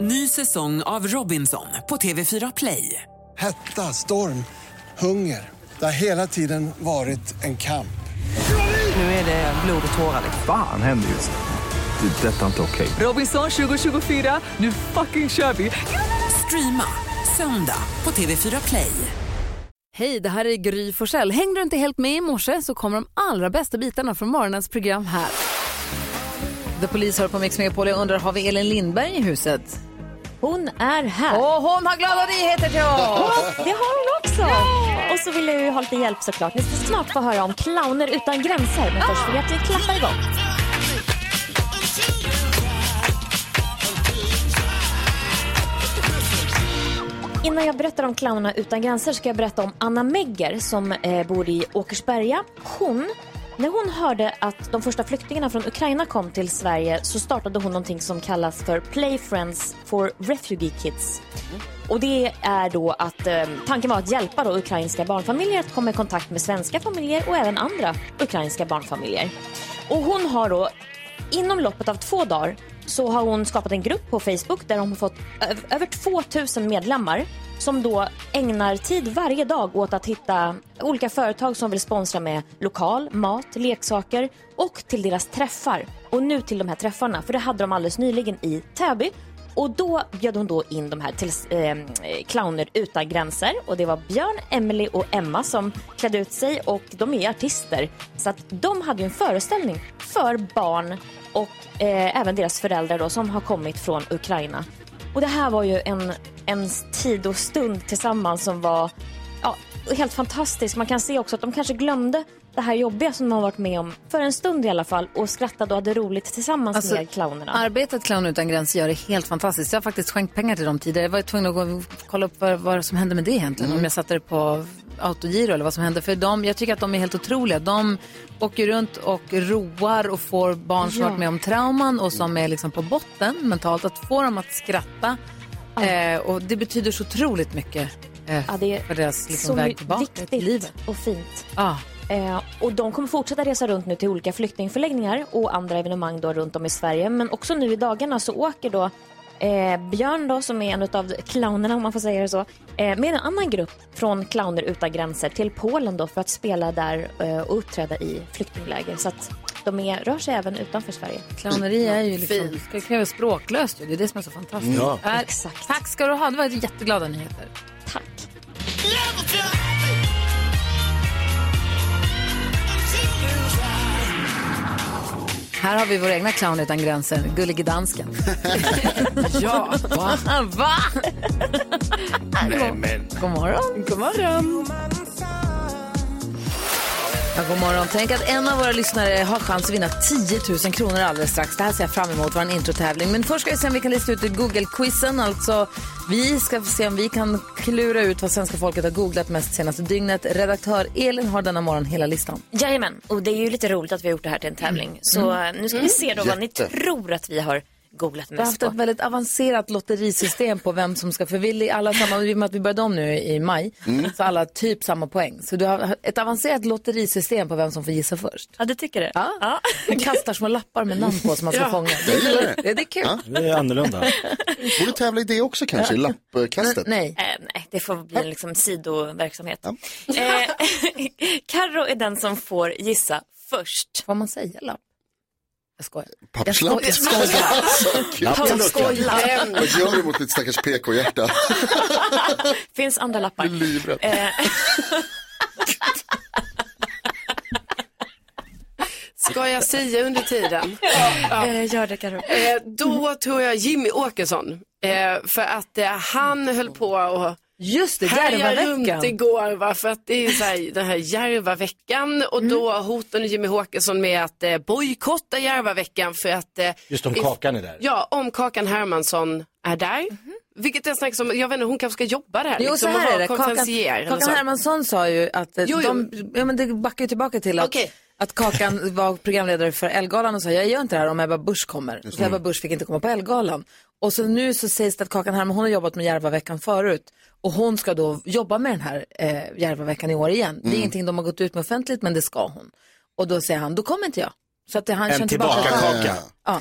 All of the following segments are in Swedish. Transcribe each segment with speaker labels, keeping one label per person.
Speaker 1: Ny säsong av Robinson på TV4 Play.
Speaker 2: Hetta, storm, hunger. Det har hela tiden varit en kamp.
Speaker 1: Nu är det blod och tårar.
Speaker 3: Fan händer just nu. Det. är Detta är inte okej.
Speaker 1: Robinson 2024, nu fucking kör vi! Streama söndag på TV4 Play.
Speaker 4: Hej, det här är Gry Forssell. Hängde du inte helt med i morse så kommer de allra bästa bitarna från morgonens program här.
Speaker 5: The Police hör på Mix Megapol. Jag undrar, har vi Elin Lindberg i huset?
Speaker 6: Hon är här.
Speaker 5: Och hon har glada nyheter till oss!
Speaker 6: Det har hon också. Och så vill jag ju ha lite hjälp såklart. Ni ska snart få höra om clowner utan gränser. Men först vill jag att vi klappar igång. Innan jag berättar om Clownerna utan gränser ska jag berätta om Anna Megger som eh, bor i Åkersberga. Hon, när hon hörde att de första flyktingarna från Ukraina kom till Sverige så startade hon någonting som kallas för Play Friends for Refugee Kids. Och det är då att eh, tanken var att hjälpa då ukrainska barnfamiljer att komma i kontakt med svenska familjer och även andra ukrainska barnfamiljer. Och hon har då Inom loppet av två dagar så har hon skapat en grupp på Facebook där hon har fått ö- över 2000 medlemmar som då ägnar tid varje dag åt att hitta olika företag som vill sponsra med lokal, mat, leksaker och till deras träffar. Och nu till de här träffarna, för det hade de alldeles nyligen i Täby. Och då bjöd hon då in de här till, eh, clowner utan gränser och det var Björn, Emily och Emma som klädde ut sig och de är artister. Så att de hade ju en föreställning för barn och eh, även deras föräldrar då som har kommit från Ukraina. Och det här var ju en, en tid och stund tillsammans som var ja, helt fantastisk. Man kan se också att de kanske glömde det här jobbiga som de har varit med om för en stund i alla fall och skrattade och hade roligt tillsammans
Speaker 5: Alltså,
Speaker 6: med clownerna.
Speaker 5: Arbetet Clown utan gränser gör det helt fantastiskt. Jag har faktiskt skänkt pengar till dem tidigare. Jag var tvungen att gå och kolla upp vad, vad som hände med det egentligen.
Speaker 6: Mm.
Speaker 5: Om jag satte det på autogiro eller vad som hände. För de, jag tycker att de är helt otroliga. De åker runt och roar och får barn som
Speaker 6: Ja.
Speaker 5: varit med om trauman och som är liksom på botten mentalt. Att få dem att skratta. Eh, och det betyder så otroligt mycket eh,
Speaker 6: Ja, det är
Speaker 5: för deras liksom,
Speaker 6: så
Speaker 5: väg tillbaka till livet.
Speaker 6: viktigt och fint.
Speaker 5: Ah.
Speaker 6: Eh, och de kommer fortsätta resa runt nu till olika flyktingförläggningar och andra evenemang då runt om i Sverige. Men också nu i dagarna så åker då eh, Björn då, som är en av clownerna om man får säga det så, eh, med en annan grupp från Clowner utan gränser till Polen då för att spela där eh, och uppträda i flyktingläger. Så att de är, rör sig även utanför Sverige.
Speaker 5: Clowneri är ju liksom, det kräver språklöst ju. Det är det som är så fantastiskt.
Speaker 7: Ja.
Speaker 5: Är-
Speaker 6: Exakt.
Speaker 5: Tack ska du ha, det var jätteglada nyheter.
Speaker 6: Tack.
Speaker 5: Här har vi vår egna clown utan gränser, Gullige Dansken. ja, va? va?
Speaker 7: Nej, men.
Speaker 5: God morgon. God morgon. Ja, god morgon. Tänk att en av våra lyssnare har chans att vinna 10 000 kronor alldeles strax. Det här ser jag fram emot, vår introtävling. Men först ska vi se om vi kan lista ut Google-quizen. Alltså, vi ska se om vi kan klura ut vad svenska folket har googlat mest senaste dygnet. Redaktör Elin har denna morgon hela listan.
Speaker 6: Jajamän, och det är ju lite roligt att vi har gjort det här till en tävling. Så eh, nu ska vi se då vad ni tror att vi har googlat
Speaker 5: Vi har haft
Speaker 6: mest
Speaker 5: ett
Speaker 6: på.
Speaker 5: väldigt avancerat lotterisystem på vem som ska, för vi i alla samma, i och med att vi började om nu i maj, så alla har typ samma poäng. Så du har ett avancerat lotterisystem på vem som får gissa först.
Speaker 6: Ja, du tycker det?
Speaker 5: Ja. De kastar små lappar med namn på som man ska fånga. Det är, det är kul.
Speaker 8: Det är annorlunda.
Speaker 7: Borde tävla i det också kanske, i lappkastet.
Speaker 5: Nej.
Speaker 6: Eh, nej, det får bli en liksom sidoverksamhet. Eh, Carro är den som får gissa först.
Speaker 5: Får man säga lapp? Jag skojar.
Speaker 7: Papperslapp.
Speaker 5: Jag skojar. Jag skojar.
Speaker 7: Lappen
Speaker 6: Skoja.
Speaker 7: Vad gör du mot ditt stackars PK-hjärta?
Speaker 6: Finns andra lappar.
Speaker 7: Jag är livrädd.
Speaker 9: Ska jag säga under tiden?
Speaker 6: Eh, gör det Carro.
Speaker 9: Eh, då tog jag Jimmy Åkesson. Eh, för att eh, han höll på och
Speaker 5: Just det,
Speaker 9: härja runt
Speaker 5: Järvaveckan.
Speaker 9: igår. Va? För att det är ju så här, den här Järvaveckan. Och då hotade Jimmy Åkesson med att eh, bojkotta Järvaveckan. För att, eh,
Speaker 8: Just om Kakan är där.
Speaker 9: ja, om Kakan Hermansson är där. Vilket jag snackar om, jag vet inte, hon kanske ska jobba där. liksom,
Speaker 5: Jo, så
Speaker 9: och
Speaker 5: här
Speaker 9: vara
Speaker 5: är det.
Speaker 9: konferencier
Speaker 5: liksom.
Speaker 9: eller så.
Speaker 5: Kakan, Kakan Hermansson sa ju att eh,
Speaker 9: Jo, jo.
Speaker 5: De, ja, men det backar ju tillbaka till att,
Speaker 9: Okej.
Speaker 5: att Kakan var programledare för Elgalan och sa jag gör inte det här om Ebba Busch kommer. För Ebba Busch fick inte komma på Elgalan. Och så nu så sägs det att Kakan Hermansson, hon har jobbat med Järvaveckan förut och hon ska då jobba med den här eh, Järvaveckan i år igen. Det är ingenting de har gått ut med offentligt men det ska hon. Och då säger han, då kommer inte jag. Så att det, han känner
Speaker 8: En tillbaka
Speaker 5: tillbaka.
Speaker 8: Kaka.
Speaker 5: Ja.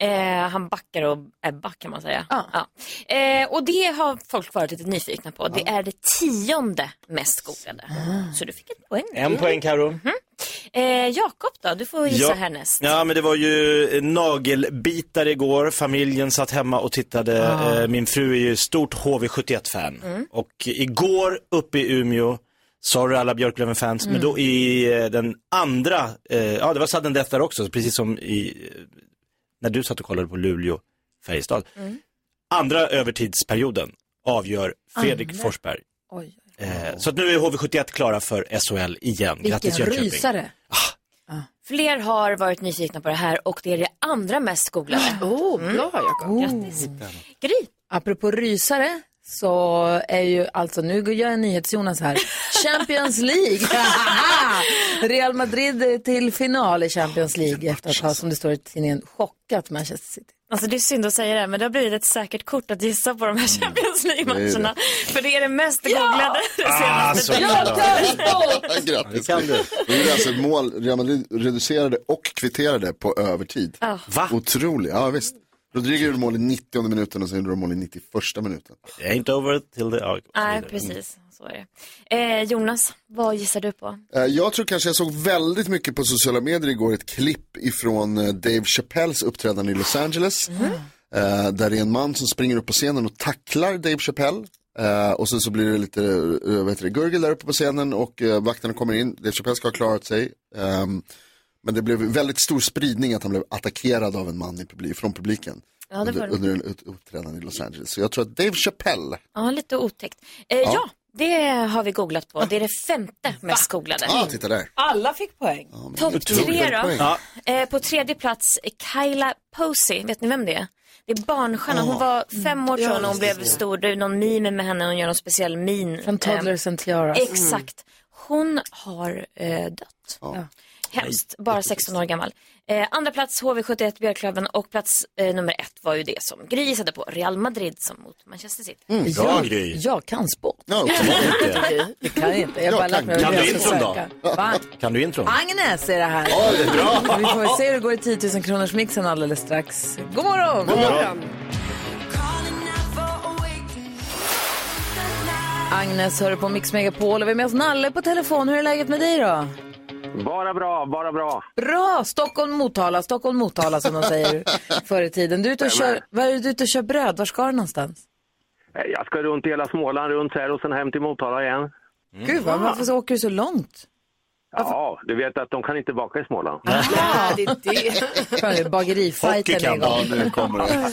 Speaker 6: Eh, han backar och Ebba kan man säga. Ja. Eh, och det har folk varit lite nyfikna på. Det är det tionde mest googlade. Så du fick ett poäng.
Speaker 8: En poäng Karo.
Speaker 5: Mm-hmm.
Speaker 6: Eh, Jakob då, du får gissa härnäst.
Speaker 8: ja, men det var ju eh, nagelbitar igår. Familjen satt hemma och tittade.
Speaker 5: Ah.
Speaker 8: Eh, min fru är ju stort HV71-fan.
Speaker 5: Mm.
Speaker 8: Och igår uppe i Umeå, sorry alla Björklöven-fans, men
Speaker 5: Mm.
Speaker 8: då i eh, den andra, eh, ja det var sudden death där också, precis som i, eh, när du satt och kollade på Luleå, Färjestad.
Speaker 5: Mm.
Speaker 8: Andra övertidsperioden avgör
Speaker 5: Ah,
Speaker 8: Fredrik Forsberg.
Speaker 5: Oj.
Speaker 8: Eh, så att nu är HV71 klara för SHL igen. Grattis
Speaker 5: Vilken
Speaker 8: Jönköping.
Speaker 5: rysare.
Speaker 6: Fler har varit nyfikna på det här och det är det andra mest googlade.
Speaker 9: Oh, bra Jakob.
Speaker 8: Oh.
Speaker 6: Gry.
Speaker 5: Apropå rysare så är ju alltså, nu gör jag NyhetsJonas här, Champions League. Real Madrid till final i Champions League efter att ha, som det står i tidningen, chockat Manchester City.
Speaker 6: Alltså det är synd att säga det, men det har blivit ett säkert kort att gissa på de här Champions League-matcherna. För det är det mest googlade det
Speaker 8: Ah,
Speaker 6: senaste.
Speaker 8: så glad.
Speaker 7: Grattis.
Speaker 8: kan du.
Speaker 7: Det är alltså ett mål Real Madrid reducerade och kvitterade på övertid.
Speaker 8: Va?
Speaker 7: Otroligt, ja visst. Rodrigo gjorde mål i 90 minuten och sen gjorde de mål i 91 minuten.
Speaker 8: Ain't over till the... ja, och så
Speaker 6: Nej,
Speaker 8: vidare.
Speaker 6: precis. Så är det. Eh, Jonas, vad gissar du på?
Speaker 7: Eh, Jag tror kanske jag såg väldigt mycket på sociala medier igår ett klipp ifrån eh, Dave Chappelles uppträdande i Los Angeles.
Speaker 6: Mm.
Speaker 7: Eh, Där det är en man som springer upp på scenen och tacklar Dave Chappelle. Eh, Och sen så blir det lite eh, vad heter det, gurgel där uppe på scenen och eh, vakterna kommer in. Dave Chappelle ska ha klarat sig. Ehm, Men det blev väldigt stor spridning att han blev attackerad av en man i publi- från publiken.
Speaker 6: det var
Speaker 7: under,
Speaker 6: det.
Speaker 7: under en ut- uppträdande i Los Angeles. Så jag tror att Dave Chappelle,
Speaker 6: Ja, lite otäckt. Eh, ja. det har vi googlat på. Det är det femte mest googlade.
Speaker 7: ah titta där.
Speaker 5: Alla fick poäng.
Speaker 6: Topp tre då.
Speaker 7: poäng.
Speaker 8: Ja.
Speaker 6: Eh, på tredje plats, Kyla Posey. Vet ni vem det är? Det är barnstjärna. Hon var fem år sedan och hon blev stor. Det är någon meme med henne. Hon gör någon speciell min.
Speaker 5: Från
Speaker 6: Eh,
Speaker 5: Toddlers and Tiaras.
Speaker 6: Exakt. Hon har eh, dött. Hemskt, bara 16 år gammal. Eh, andra plats HV71 Björklöven och plats eh, nummer ett var ju det som Gry gissade på, Real Madrid som mot Manchester City.
Speaker 8: Mm, Bra
Speaker 5: jag,
Speaker 8: Gry.
Speaker 5: jag kan spå.
Speaker 7: Ja, uppenbarligen.
Speaker 5: Det kan jag inte. Jag har bara
Speaker 7: Jag kan.
Speaker 5: lärt mig hur
Speaker 8: Kan
Speaker 5: jag
Speaker 8: du
Speaker 5: ska
Speaker 8: intron då?
Speaker 5: söka. Va?
Speaker 8: Kan du intron?
Speaker 5: Agnes är det här. Vi får se hur det går i 10 000 kronors mixen alldeles strax. God morgon! Agnes hör du på Mix Megapol och vi har med oss Nalle på telefon. Hur är läget med dig då?
Speaker 10: Bara bra, bara bra.
Speaker 5: Bra! Stockholm-Motala, Stockholm-Motala som de säger förr i tiden. Du är ute och kör, var är du ute och kör bröd? Var ska du någonstans?
Speaker 10: Eh, Jag ska runt i hela Småland runt här och sen hem till Motala igen. Mm.
Speaker 5: Gud, vad, varför så åker du så långt?
Speaker 10: Ja, du vet att de kan inte baka i Småland.
Speaker 9: Ja, det är det.
Speaker 5: Fan, nu,
Speaker 8: Hockey
Speaker 5: Bagerifajten är
Speaker 8: kan
Speaker 5: igång.
Speaker 7: Ja, nu kommer det.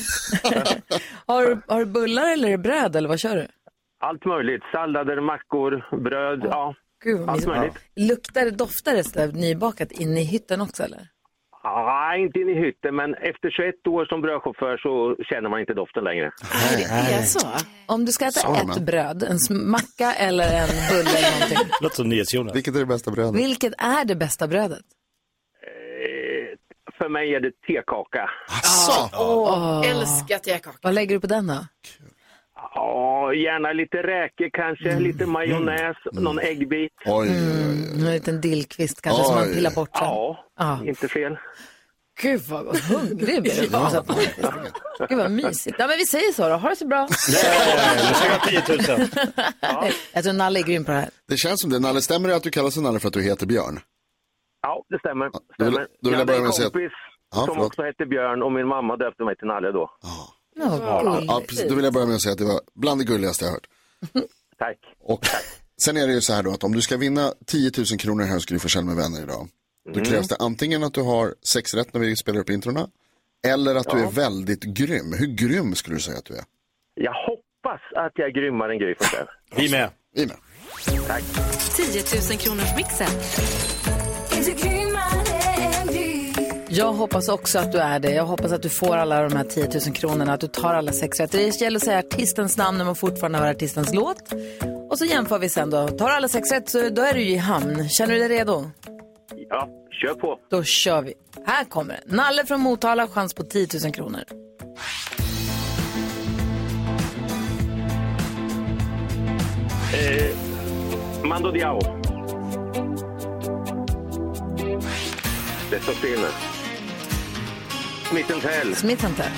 Speaker 5: Har, du- har du bullar eller är det bröd eller vad kör du?
Speaker 10: Allt möjligt, sallader, mackor, bröd, ja.
Speaker 5: Gud, vad
Speaker 10: Allt
Speaker 5: mysigt.
Speaker 10: möjligt.
Speaker 5: Luktar det, doftar det sådär nybakat in i hytten också eller?
Speaker 10: Nej, inte in i hytten, men efter 21 år som brödchaufför så känner man inte doften längre.
Speaker 9: Det är så.
Speaker 5: Om du ska äta
Speaker 7: Sa man.
Speaker 5: ett bröd, en sm- macka eller en bulle eller någonting,
Speaker 8: Låter som NyhetsJonas.
Speaker 7: Vilket är det bästa brödet?
Speaker 5: vilket är det bästa brödet?
Speaker 10: Eh, För mig är det tekaka.
Speaker 7: Asså!
Speaker 9: Älskar tekaka.
Speaker 5: Vad lägger du på den då?
Speaker 10: Ja, gärna lite räkor kanske,
Speaker 8: Mm.
Speaker 10: lite majonnäs, någon äggbit.
Speaker 7: Oj, oj, oj.
Speaker 5: En liten dillkvist kanske som man
Speaker 7: Oj.
Speaker 5: pillar bort sen.
Speaker 10: Ja,
Speaker 5: Ja.
Speaker 10: inte fel.
Speaker 5: Gud vad gott. hungrig blir du. Alltså, Gud vad mysigt. Ja men vi säger så då, ha det så bra.
Speaker 8: Nu ska jag ha 10 000.
Speaker 5: Jag tror Nalle är grym på det här.
Speaker 7: Det känns som det. Nalle, stämmer det att du kallas för Nalle för att du heter Björn?
Speaker 10: Ja, det stämmer.
Speaker 7: Ja, då vill-
Speaker 10: stämmer.
Speaker 7: då vill jag börja med att
Speaker 10: hade
Speaker 7: säga
Speaker 10: en
Speaker 7: att-
Speaker 10: kompis
Speaker 7: Ja,
Speaker 10: som
Speaker 7: förlåt.
Speaker 10: också hette Björn och min mamma döpte mig till Nalle då.
Speaker 5: Ja, vad gulligt.
Speaker 7: Ja, precis. Då vill jag börja med att säga att det var bland det gulligaste jag hört.
Speaker 10: Tack.
Speaker 7: Och sen är det ju så här då att om du ska vinna 10 000 kronor här skulle du få känna med vänner idag. Då krävs det antingen att du har sex rätt när vi spelar upp introna. Eller att du är väldigt grym. Hur grym skulle du säga att du är?
Speaker 10: Jag hoppas att jag är grymmare än Gry Forssell.
Speaker 8: Vi med.
Speaker 7: Vi är med.
Speaker 4: 10 000 kronors mixen.
Speaker 5: Jag hoppas också att du är det. Jag hoppas att du får alla de här 10 000 kronorna, att du tar alla sex rätt. Det gäller att säga artistens namn när man fortfarande hör artistens låt. Och så jämför vi sen då. Tar du alla sex rätt så då är du ju i hamn. Känner du dig redo?
Speaker 10: Ja, kör på.
Speaker 5: Då kör vi. Här kommer det. Nalle från Motala, chans på 10 000 kronor.
Speaker 10: Mando Diao. Det står still nu. Smith Tell.
Speaker 5: Smith Tell.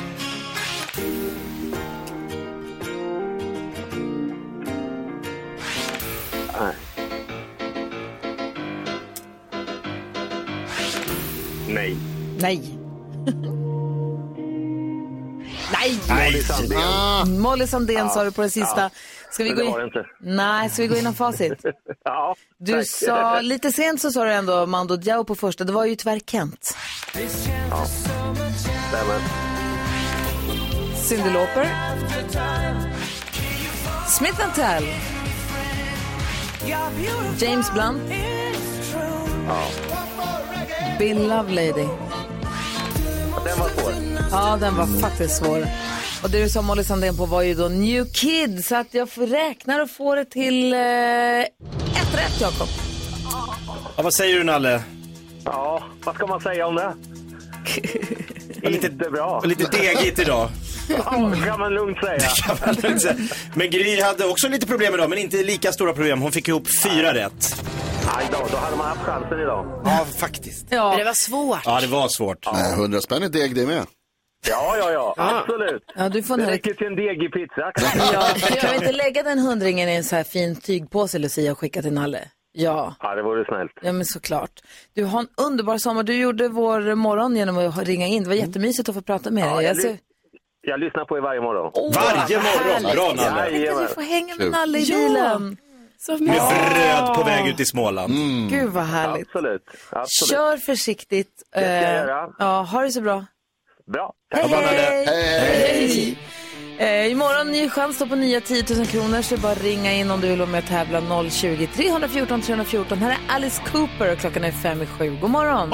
Speaker 10: Nej. Nej.
Speaker 5: Nej. Nej!
Speaker 10: Molly Sandén.
Speaker 5: Molly Sandén sa du på det sista. Ska vi
Speaker 10: Men
Speaker 5: gå
Speaker 10: det var det
Speaker 5: in...
Speaker 10: inte.
Speaker 5: Nej, ska vi gå igenom facit?
Speaker 10: Ja,
Speaker 5: Du
Speaker 10: tack.
Speaker 5: sa, lite sent så sa du ändå Mando Diao på första, det var ju tyvärr Kent.
Speaker 10: Stämmer.
Speaker 5: Cyndi Lauper. Smith Tell. James Blunt. Bill Lovelady.
Speaker 10: Den var svår.
Speaker 5: Ja, den var faktiskt svår. Och det du sa Molly Sandén på var ju då New Kid, så att jag får- räknar och får det till eh, ett rätt, Jakob.
Speaker 8: Ja, vad säger du Nalle?
Speaker 10: Ja, vad ska man säga om det?
Speaker 8: lite-
Speaker 10: Inte bra.
Speaker 8: Och Lite degigt idag.
Speaker 10: Ja, det kan man lugnt säga.
Speaker 8: kan man lugnt säga. Men Gry hade också lite problem idag, men inte lika stora problem. Hon fick ihop fyra rätt.
Speaker 10: Aj då, då hade man haft chansen idag.
Speaker 8: Ja, faktiskt.
Speaker 9: Men det var svårt.
Speaker 8: Ja, det var svårt.
Speaker 7: Nej, 100 spänn är deg det med.
Speaker 10: Ja, ja, ja. Absolut.
Speaker 5: Ja, du får en
Speaker 10: Det
Speaker 5: hög...
Speaker 10: räcker till en degig pizza.
Speaker 5: Ja, kan vi inte lägga den hundringen i en så här fin tygpåse, Lucia, och skicka till Nalle? Ja.
Speaker 10: Ja, det vore snällt.
Speaker 5: Ja, men såklart. Du har en underbar sommar. Du gjorde vår morgon genom att ringa in. Det var jättemysigt att få prata med dig.
Speaker 10: Mm. jag
Speaker 5: Alltså,
Speaker 10: ly- Jag lyssnar på er varje morgon.
Speaker 5: åh,
Speaker 8: Varje
Speaker 5: vad
Speaker 8: morgon.
Speaker 5: härligt.
Speaker 8: Bra Nalle.
Speaker 5: Tänk att vi får hänga med Nalle i
Speaker 9: Ja.
Speaker 5: bilen.
Speaker 9: Så
Speaker 8: Med
Speaker 9: mysigt.
Speaker 8: bröd på väg ut i Småland.
Speaker 7: Mm.
Speaker 5: Gud vad härligt.
Speaker 10: Absolut. Mm. Absolut.
Speaker 5: Kör försiktigt.
Speaker 10: ska jag
Speaker 5: Eh,
Speaker 10: göra.
Speaker 5: Ja, ha det så bra.
Speaker 10: Bra.
Speaker 5: Hej,
Speaker 8: bara det.
Speaker 5: hej! Eh, imorgon ny chans då på nya 10 000 kronor så det är bara att ringa in om du vill vara med och tävla 020 314 314. Här är Alice Cooper och klockan är fem i sju. God morgon!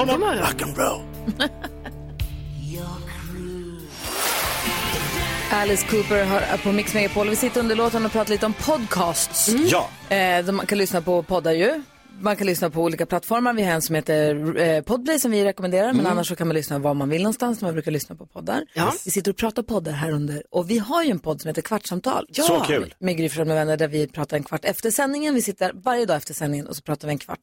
Speaker 5: Alice Cooper har på Mix Megapol. Vi sitter under låten och pratar lite om podcasts.
Speaker 8: Ja.
Speaker 5: Eh, där man kan lyssna på poddar ju. Man kan lyssna på olika plattformar. Vi har en som heter eh, Podplay som vi rekommenderar. Men annars så kan man lyssna var man vill någonstans. Man brukar lyssna på poddar.
Speaker 9: Ja.
Speaker 5: Vi sitter och pratar poddar här under. Och vi har ju en podd som heter Kvartsamtal. Ja.
Speaker 8: Så kul.
Speaker 5: Med Gry Forssell med vänner där vi pratar en kvart efter sändningen. Vi sitter varje dag efter sändningen och så pratar vi en kvart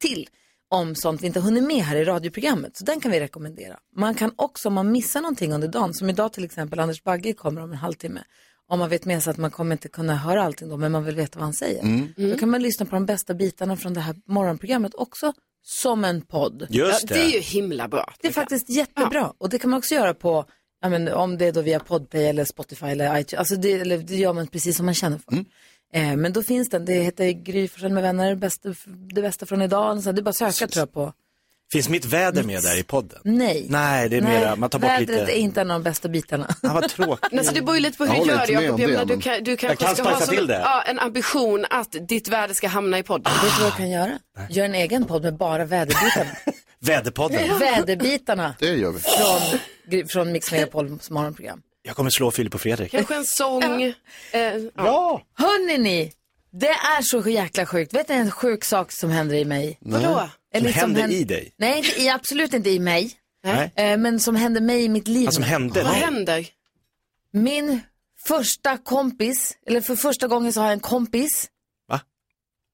Speaker 5: till om sånt vi inte hunnit med här i radioprogrammet. Så den kan vi rekommendera. Man kan också om man missar någonting under dagen, som idag till exempel, Anders Bagge kommer om en halvtimme. Om man vet med sig att man kommer inte kunna höra allting då, men man vill veta vad han säger. Då kan man lyssna på de bästa bitarna från det här morgonprogrammet också som en podd.
Speaker 9: Ja,
Speaker 8: Just
Speaker 9: det är
Speaker 8: det.
Speaker 9: ju himla bra.
Speaker 5: Det är faktiskt jättebra. Och det kan man också göra på, ja, men, om det är då via Podplay eller Spotify eller iTunes. Alltså det, eller, det gör man precis som man känner
Speaker 8: Mm.
Speaker 5: för. Eh, men då finns den. Det heter Gry Forssell med vänner, bästa, det bästa från idag. eller Så det är bara att söka tror jag på.
Speaker 8: Finns mitt väder med där i podden?
Speaker 5: Nej.
Speaker 8: Nej, det är
Speaker 5: Nej,
Speaker 8: mera, man tar bort
Speaker 5: vädret är
Speaker 8: lite.
Speaker 5: inte en av de bästa bitarna.
Speaker 8: Ah, vad tråkigt.
Speaker 9: Men alltså det beror ju lite på hur
Speaker 7: Jag
Speaker 9: du
Speaker 7: håller
Speaker 9: gör
Speaker 7: inte
Speaker 9: det
Speaker 7: med om
Speaker 9: Jakob. Jag
Speaker 7: det,
Speaker 9: menar, du,
Speaker 7: men-
Speaker 9: kan, du kanske
Speaker 8: kan
Speaker 9: ska ha
Speaker 8: spicea
Speaker 9: som,
Speaker 8: till det.
Speaker 9: Ja, en ambition att ditt väder ska hamna i podden.
Speaker 5: Vet du vad du kan göra? Gör en egen podd med bara väderbitarna.
Speaker 8: Väderpodden.
Speaker 5: väderbitarna
Speaker 7: Det gör vi.
Speaker 5: från, Gry- från Mix Megapols morgonprogram.
Speaker 8: Jag kommer slå Filip och Fredrik.
Speaker 9: Kanske en sång. Eh, ja.
Speaker 8: Ja!
Speaker 5: Hörrni ni, det är så jäkla sjukt. Vet ni en sjuk sak som händer i mig?
Speaker 9: Vadå?
Speaker 5: Eller
Speaker 8: Som händer i dig?
Speaker 5: Nej, inte i, absolut inte i mig.
Speaker 8: Nej.
Speaker 5: Eh, men som hände mig i mitt liv.
Speaker 8: Vad som hände?
Speaker 9: Vad
Speaker 8: Nej.
Speaker 9: händer?
Speaker 5: Min första kompis, eller för första gången så har jag en kompis.
Speaker 8: Va?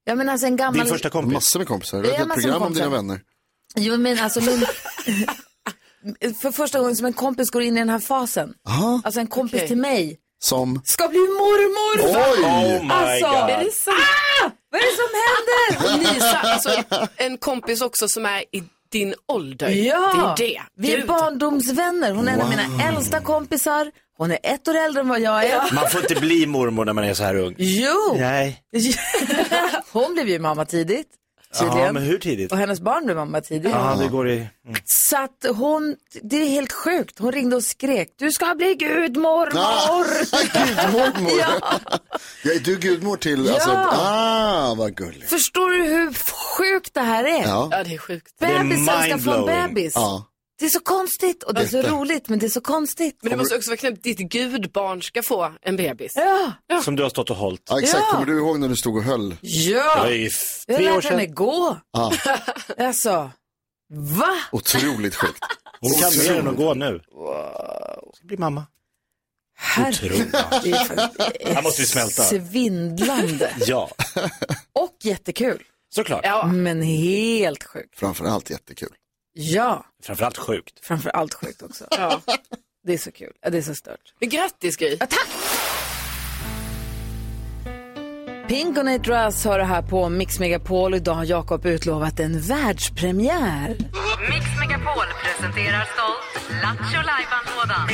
Speaker 5: Ja men alltså en gammal...
Speaker 8: Din första kompis?
Speaker 7: Massor med kompisar.
Speaker 5: Det är
Speaker 7: Det är ett
Speaker 5: massor med
Speaker 7: program om
Speaker 5: kompisar.
Speaker 7: dina vänner.
Speaker 5: Jo men alltså min... för första gången som en kompis går in i den här fasen.
Speaker 7: Aha.
Speaker 5: Alltså en kompis
Speaker 9: Okej.
Speaker 5: till mig
Speaker 7: Som...
Speaker 5: ska bli mormor!
Speaker 8: Oh
Speaker 7: Oj!
Speaker 8: my
Speaker 5: Alltså,
Speaker 8: god.
Speaker 9: Är det sant?
Speaker 5: Ah! Vad är det som händer?
Speaker 9: Och Nisa, alltså en kompis också som är i din ålder.
Speaker 5: Ja,
Speaker 9: Det är ju det.
Speaker 5: vi är
Speaker 9: Gud.
Speaker 5: barndomsvänner. Hon är en av mina äldsta kompisar. Hon är ett år äldre än vad jag är.
Speaker 8: Man får inte bli mormor när man är så här ung.
Speaker 5: Jo!
Speaker 8: Nej.
Speaker 5: Hon blev ju mamma tidigt,
Speaker 8: Ja,
Speaker 5: tydligen.
Speaker 8: men hur tidigt?
Speaker 5: Och hennes barn blev mamma tidigt.
Speaker 8: Ja, det går i...
Speaker 5: Så att hon, det är helt sjukt. Hon ringde och skrek, du ska bli gudmormor!
Speaker 7: Gudmormor!
Speaker 5: Ja.
Speaker 7: Ja, är du gudmor till... Alltså,
Speaker 5: Ja.
Speaker 7: ah, vad gulligt.
Speaker 5: Förstår du hur sjukt det här är?
Speaker 7: Ja.
Speaker 9: Ja, det är sjukt.
Speaker 5: Bebisar ska få en
Speaker 8: mindblowing.
Speaker 5: bebis.
Speaker 7: Ja.
Speaker 5: Det är så konstigt och det är så
Speaker 7: Jätte.
Speaker 5: roligt, men det är så konstigt.
Speaker 9: Men det måste också vara knäppt, ditt gudbarn ska få en bebis.
Speaker 5: Ja,
Speaker 8: Som du har stått och hållit.
Speaker 7: ja, exakt.
Speaker 5: Ja.
Speaker 7: Kommer du ihåg när du stod och höll?
Speaker 8: Det var
Speaker 5: ja.
Speaker 8: ju
Speaker 5: Jag har
Speaker 8: tre år
Speaker 5: lärt
Speaker 8: sedan.
Speaker 5: henne gå.
Speaker 7: Ja.
Speaker 5: Alltså, va?
Speaker 7: Otroligt sjukt.
Speaker 8: Hon kan mer än att gå nu. Ska bli mamma.
Speaker 5: Herregud. Det är fan- det är
Speaker 8: Här måste vi smälta.
Speaker 5: Svindlande
Speaker 8: Ja,
Speaker 5: och jättekul,
Speaker 8: såklart.
Speaker 9: Ja.
Speaker 5: men helt sjukt.
Speaker 7: Framförallt jättekul.
Speaker 5: Ja,
Speaker 8: Framförallt sjukt.
Speaker 5: framför allt sjukt också. Ja. Det är så kul. Ja, Det är så stört.
Speaker 9: Grattis Gry!
Speaker 5: Pink och Nate Russ hör det här på Mix Megapol och idag har Jakob utlovat en världspremiär.
Speaker 11: Mix Megapol presenterar stolt Lattjo Lajban-lådan.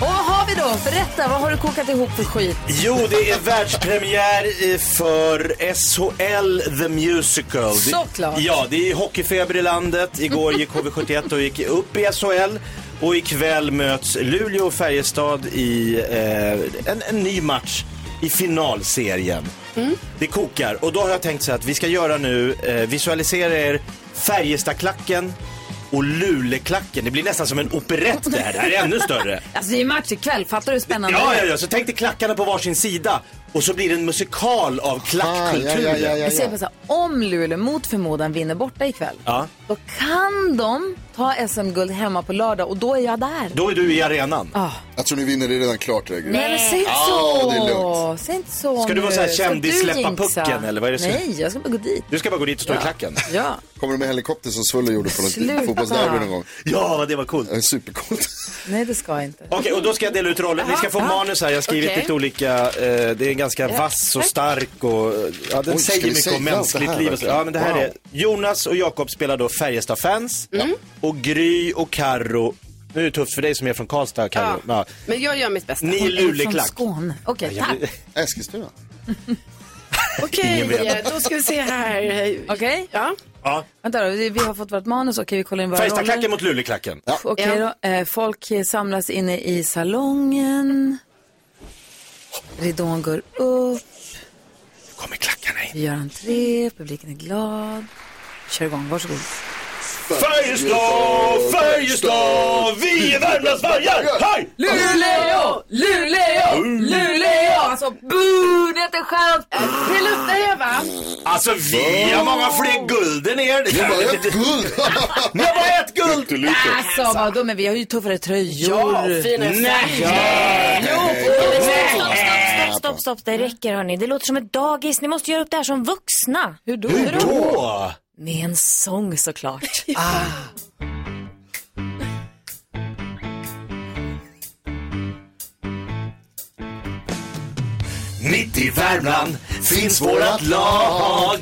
Speaker 5: Och vad har vi då? Berätta, vad har du kokat ihop för skit?
Speaker 8: Jo, det är världspremiär i- för SHL The Musical. Det-
Speaker 5: Såklart.
Speaker 8: Ja, det är hockeyfeber i landet. Igår gick HV71 och gick upp i SHL. Och ikväll möts Luleå och Färjestad i eh, en, en ny match i finalserien. Det kokar. Och då har jag tänkt så här att vi ska göra nu, eh, visualisera er Färjestadklacken och Luleklacken. Det blir nästan som en operett det här. Det här är ännu större.
Speaker 5: Alltså det är ju match ikväll, fattar du hur spännande
Speaker 8: Ja,
Speaker 5: det
Speaker 8: ja,
Speaker 5: är?
Speaker 8: ja, så tänk dig klackarna på varsin sida och så blir det en musikal av
Speaker 7: Ah, ja,
Speaker 8: klackkulturen.
Speaker 7: ja, ja, ja,
Speaker 5: Jag säger
Speaker 7: ja.
Speaker 5: bara så här, om Luleå mot förmodan vinner borta ikväll,
Speaker 8: Ja.
Speaker 5: då kan de ta SM-guld hemma på lördag och då är jag där.
Speaker 8: Då är du i arenan.
Speaker 7: Jag tror ni vinner, det är redan klart. det här, Gry.
Speaker 5: Nej, men säg inte
Speaker 7: Ja, det är
Speaker 5: så!
Speaker 7: lugnt.
Speaker 5: Säg inte så
Speaker 8: Ska du vara
Speaker 5: nu.
Speaker 8: så här
Speaker 5: Ska
Speaker 8: kändis,
Speaker 5: du
Speaker 8: släppa
Speaker 5: jinxa?
Speaker 8: pucken, eller vad är det som-
Speaker 5: Nej, jag ska bara gå dit.
Speaker 8: Du ska bara gå dit och stå i klacken.
Speaker 5: Ja.
Speaker 7: Kommer de med helikopter som Svullo gjorde på
Speaker 5: Sluta.
Speaker 7: något fotbollsderby någon gång?
Speaker 8: Ja, vad det var coolt.
Speaker 7: Det är supercoolt.
Speaker 5: Nej, det ska jag inte.
Speaker 8: Okej, och då ska jag dela ut roller. Ni ska få manus här. Jag har skrivit
Speaker 9: Okej.
Speaker 8: lite olika. Eh, det är ganska vass och stark och eh, ja, den
Speaker 7: Oj, ska
Speaker 8: säger
Speaker 7: vi
Speaker 8: mycket
Speaker 7: säga
Speaker 8: om
Speaker 7: allt det
Speaker 8: mänskligt
Speaker 7: här
Speaker 8: liv. Och så.
Speaker 7: verkligen?
Speaker 8: Ja, men det här
Speaker 7: Wow.
Speaker 8: är Jonas och Jakob spelar då Färjestad-fans och Gry och Karo. Nu är det tufft för dig som är från Karlstad, Karo. Ja.
Speaker 9: Men jag gör mitt bästa.
Speaker 8: Ni är
Speaker 5: Från
Speaker 8: Luleklack.
Speaker 5: Skåne. Okej, tack.
Speaker 7: Eskilstuna.
Speaker 9: Okej,
Speaker 8: Ingen vet.
Speaker 9: då ska vi se här.
Speaker 5: Okej.
Speaker 9: Ja.
Speaker 8: Ja.
Speaker 5: Vänta då, vi vi har fått vårt manus. Okej, vi kollar in våra roller.
Speaker 8: Färjestadklacken mot Luleklacken.
Speaker 5: Okej då, eh, folk samlas inne i salongen. Ridån går upp,
Speaker 8: Nu kommer klackarna in.
Speaker 5: vi gör entré, publiken är glad. Kör igång, varsågod.
Speaker 8: Färjestad, Färjestad, vi är Värmlandsvargar! Hej!
Speaker 5: Luleå! Luleå! Luleå! Alltså, bu! Det är skönt!
Speaker 9: Det luktar jag va?
Speaker 8: Alltså vi har många fler guld än er.
Speaker 7: Det var ett guld!
Speaker 8: Ni har bara ett guld!
Speaker 5: Alltså, vadå, men vi har ju tuffare tröjor.
Speaker 9: Ja, fina
Speaker 6: Stopp, stopp, stopp, stopp, det räcker hörni. Det låter som ett dagis. Ni måste göra upp det här som vuxna.
Speaker 5: Hur då?
Speaker 8: Hur då?
Speaker 6: Med en sång såklart.
Speaker 8: Mitt i Värmland finns vårat lag.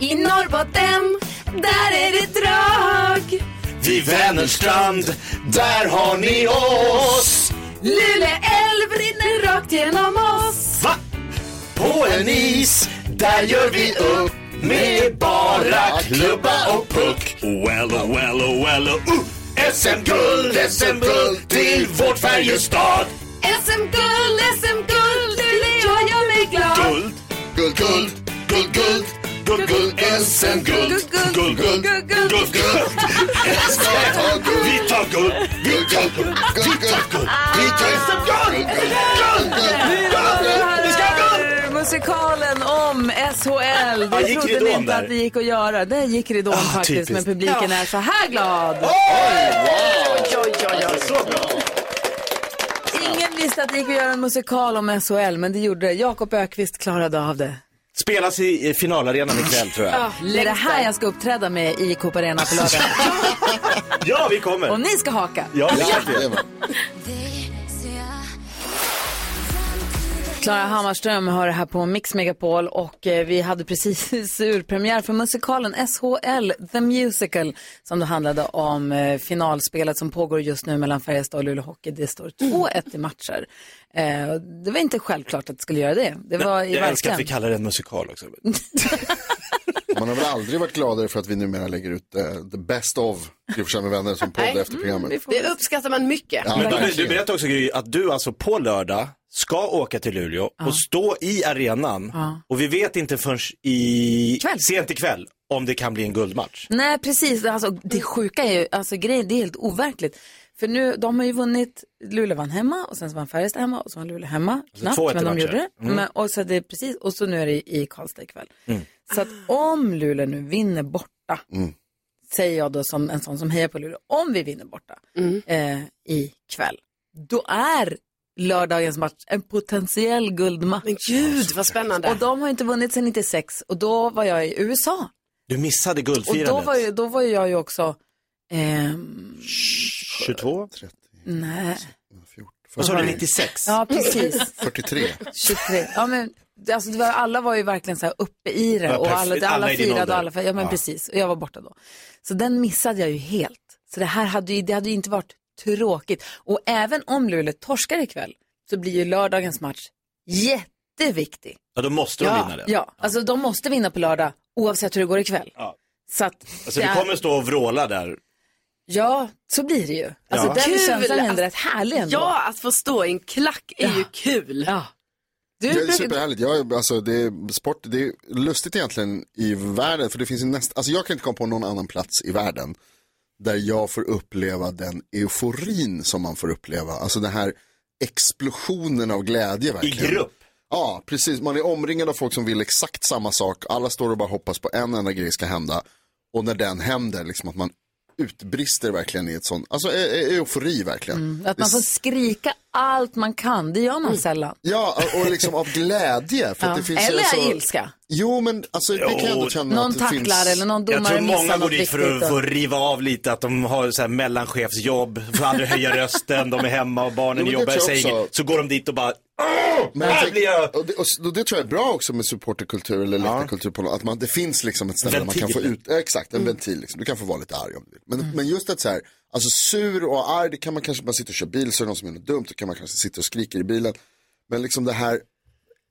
Speaker 5: I Norrbotten, där är det drag!
Speaker 8: Vid Vänerstrand, där har ni oss.
Speaker 5: Lule älv rinner rakt genom oss.
Speaker 8: Va? På en is, där gör vi upp med bara klubba och puck. Well, oh, well, oh, well, oh, uh. SM-guld, SM-guld till vårt Färjestad.
Speaker 5: SM-guld, SM-guld, Luleå gör mig glad.
Speaker 8: Guld,
Speaker 7: Guld, guld, guld, guld, guld, guld, SM-guld.
Speaker 5: Guld, guld, guld, guld, guld.
Speaker 7: Guld, guld, SM-guld.
Speaker 8: vi tar guld.
Speaker 7: Guld, guld, guld, guld, guld, guld, guld, guld, guld, guld.
Speaker 5: Vi ska ha guld! Musikalen om SHL.
Speaker 8: Ja,
Speaker 5: Det
Speaker 8: gick
Speaker 5: trodde ni
Speaker 8: ridån
Speaker 5: inte
Speaker 8: där?
Speaker 5: att det gick att göra. Det gick ridån faktiskt,
Speaker 8: typiskt.
Speaker 5: men publiken är så här glad. Ingen visste att det gick att göra en musikal om SHL, men det gjorde det. Jakob Ökvist klarade av det.
Speaker 8: Spelas i eh, finalarenan ikväll tror jag.
Speaker 5: Det är det här jag ska uppträda med i Coop Arena på lördag.
Speaker 8: Ja, vi
Speaker 5: Och
Speaker 8: kommer.
Speaker 5: ni ska haka.
Speaker 8: Ja, vi
Speaker 7: Ja,
Speaker 8: gör det.
Speaker 7: det var-
Speaker 5: Klara Hammarström har det här på Mix Megapol och eh, vi hade precis urpremiär för musikalen SHL The Musical som då handlade om eh, finalspelet som pågår just nu mellan Färjestad och Luleå Hockey. Det står
Speaker 8: Mm.
Speaker 5: 2-1 i matcher. Eh, och det var inte självklart att det skulle göra det. Det var i
Speaker 8: Jag älskar att vi
Speaker 5: verkligen.
Speaker 8: kallar det en musikal också.
Speaker 7: Man har väl aldrig varit gladare för att vi numera lägger ut eh, the best of Gry Forssell med vänner som podd efter
Speaker 5: Mm,
Speaker 7: programmet.
Speaker 9: Det uppskattar man mycket.
Speaker 7: Ja,
Speaker 8: Men du, du
Speaker 7: verkligen.
Speaker 8: berättade också Gry, att du alltså på lördag ska åka till Luleå och stå i arenan och vi vet inte förrän i
Speaker 5: Kväll.
Speaker 8: sent ikväll om det kan bli en guldmatch.
Speaker 5: Nej, precis. Alltså, det
Speaker 9: Mm.
Speaker 5: sjuka är ju, alltså grejen, det är helt overkligt. För nu, de har ju vunnit, Luleå vann hemma och sen så vann Färjestad hemma och så vann Luleå hemma.
Speaker 9: Alltså,
Speaker 5: Knappt,
Speaker 8: 2-1 i
Speaker 5: men de
Speaker 8: matcher.
Speaker 5: gjorde det.
Speaker 9: Mm.
Speaker 5: Men, och, så det är precis, och så nu är det i Karlstad ikväll. Så att om Luleå nu vinner borta,
Speaker 9: Mm.
Speaker 5: säger jag då som en
Speaker 9: Mm.
Speaker 5: sån som hejar på Luleå, om vi vinner borta eh, ikväll, då är lördagens match en potentiell guldmatch. Men
Speaker 9: gud, vad spännande.
Speaker 5: Och de har ju inte vunnit sedan 96 och då var jag i USA.
Speaker 8: Du missade
Speaker 5: Och
Speaker 8: guldfirandet.
Speaker 5: då var, ju, då var ju jag ju också, ehm,
Speaker 8: 22?
Speaker 5: nej.
Speaker 8: Vad sa du, 96?
Speaker 5: Ja, precis.
Speaker 7: 43.
Speaker 5: 23. Ja, men, det- alltså, det var, alla var ju verkligen så här uppe i det
Speaker 7: Ja,
Speaker 5: och alla,
Speaker 7: perfekt.
Speaker 5: alla,
Speaker 7: Alla i din
Speaker 5: firade
Speaker 7: ålder.
Speaker 5: och alla firade. Ja, men
Speaker 7: Ja.
Speaker 5: precis. Och jag var borta då. Så den missade jag ju helt. Så det här hade ju, det hade ju inte varit tråkigt. Och även om Luleå torskar ikväll så blir ju lördagens match jätteviktig.
Speaker 8: Ja, då måste de vinna det.
Speaker 5: ja. Alltså de måste vinna på lördag oavsett hur det går ikväll.
Speaker 8: Ja.
Speaker 5: Så att,
Speaker 8: Alltså,
Speaker 5: det
Speaker 8: vi
Speaker 5: är-
Speaker 8: kommer stå och vråla där.
Speaker 5: ja, så blir det ju. Alltså
Speaker 8: Ja.
Speaker 5: den
Speaker 9: Kul
Speaker 5: känslan är ändå
Speaker 9: att-
Speaker 5: rätt härlig ändå.
Speaker 9: Ja, att få stå i en klack är ju kul.
Speaker 5: Ja.
Speaker 7: det är superhärligt. Jag, alltså, det är sport, det är lustigt egentligen i världen. För det finns ju näst, alltså, jag kan inte komma på någon annan plats i världen där jag får uppleva den euforin som man får uppleva. Alltså den här explosionen av glädje verkligen.
Speaker 8: grupp.
Speaker 7: Ja, precis. Man är omringad av folk som vill exakt samma sak. Alla står och bara hoppas på en enda grej ska hända. Och när den händer, liksom att man utbrister verkligen i ett sånt, alltså e- e- eufori verkligen.
Speaker 5: Att man får skrika allt man kan, det gör
Speaker 7: Mm.
Speaker 5: man sällan.
Speaker 7: Ja, och liksom av glädje. För
Speaker 5: Ja.
Speaker 7: att det finns
Speaker 5: Eller
Speaker 7: alltså...
Speaker 5: ilska.
Speaker 7: Jo, men alltså, det kan jag ändå känna
Speaker 5: Någon
Speaker 7: att det
Speaker 5: tacklar
Speaker 7: finns...
Speaker 5: eller någon domare
Speaker 8: Jag tror
Speaker 5: missar
Speaker 8: många
Speaker 5: något
Speaker 8: går dit för
Speaker 5: viktigt
Speaker 8: att,
Speaker 5: och-
Speaker 8: för att riva av lite, att de har så här mellanchefsjobb, får aldrig höja rösten, de är hemma och barnen
Speaker 7: Jo, men det
Speaker 8: jobbar,
Speaker 7: tror jag
Speaker 8: säger
Speaker 7: också.
Speaker 8: inget. Så går de dit och bara,
Speaker 7: Men alltså, jag tänker- och, det, och, s- och det tror jag är bra också med supporterkultur eller läktarkultur på något, att man, det finns liksom ett ställe där man kan få
Speaker 8: Ventil.
Speaker 7: ut, ja, exakt, en
Speaker 5: Mm.
Speaker 7: ventil liksom. Du kan få vara lite arg om du vill. Men, men just att så här, alltså sur och arg, det kan man kanske bara sitta och köra bil, så är det någon som gör något dumt, då kan man kanske sitta och skrika i bilen. Men liksom det här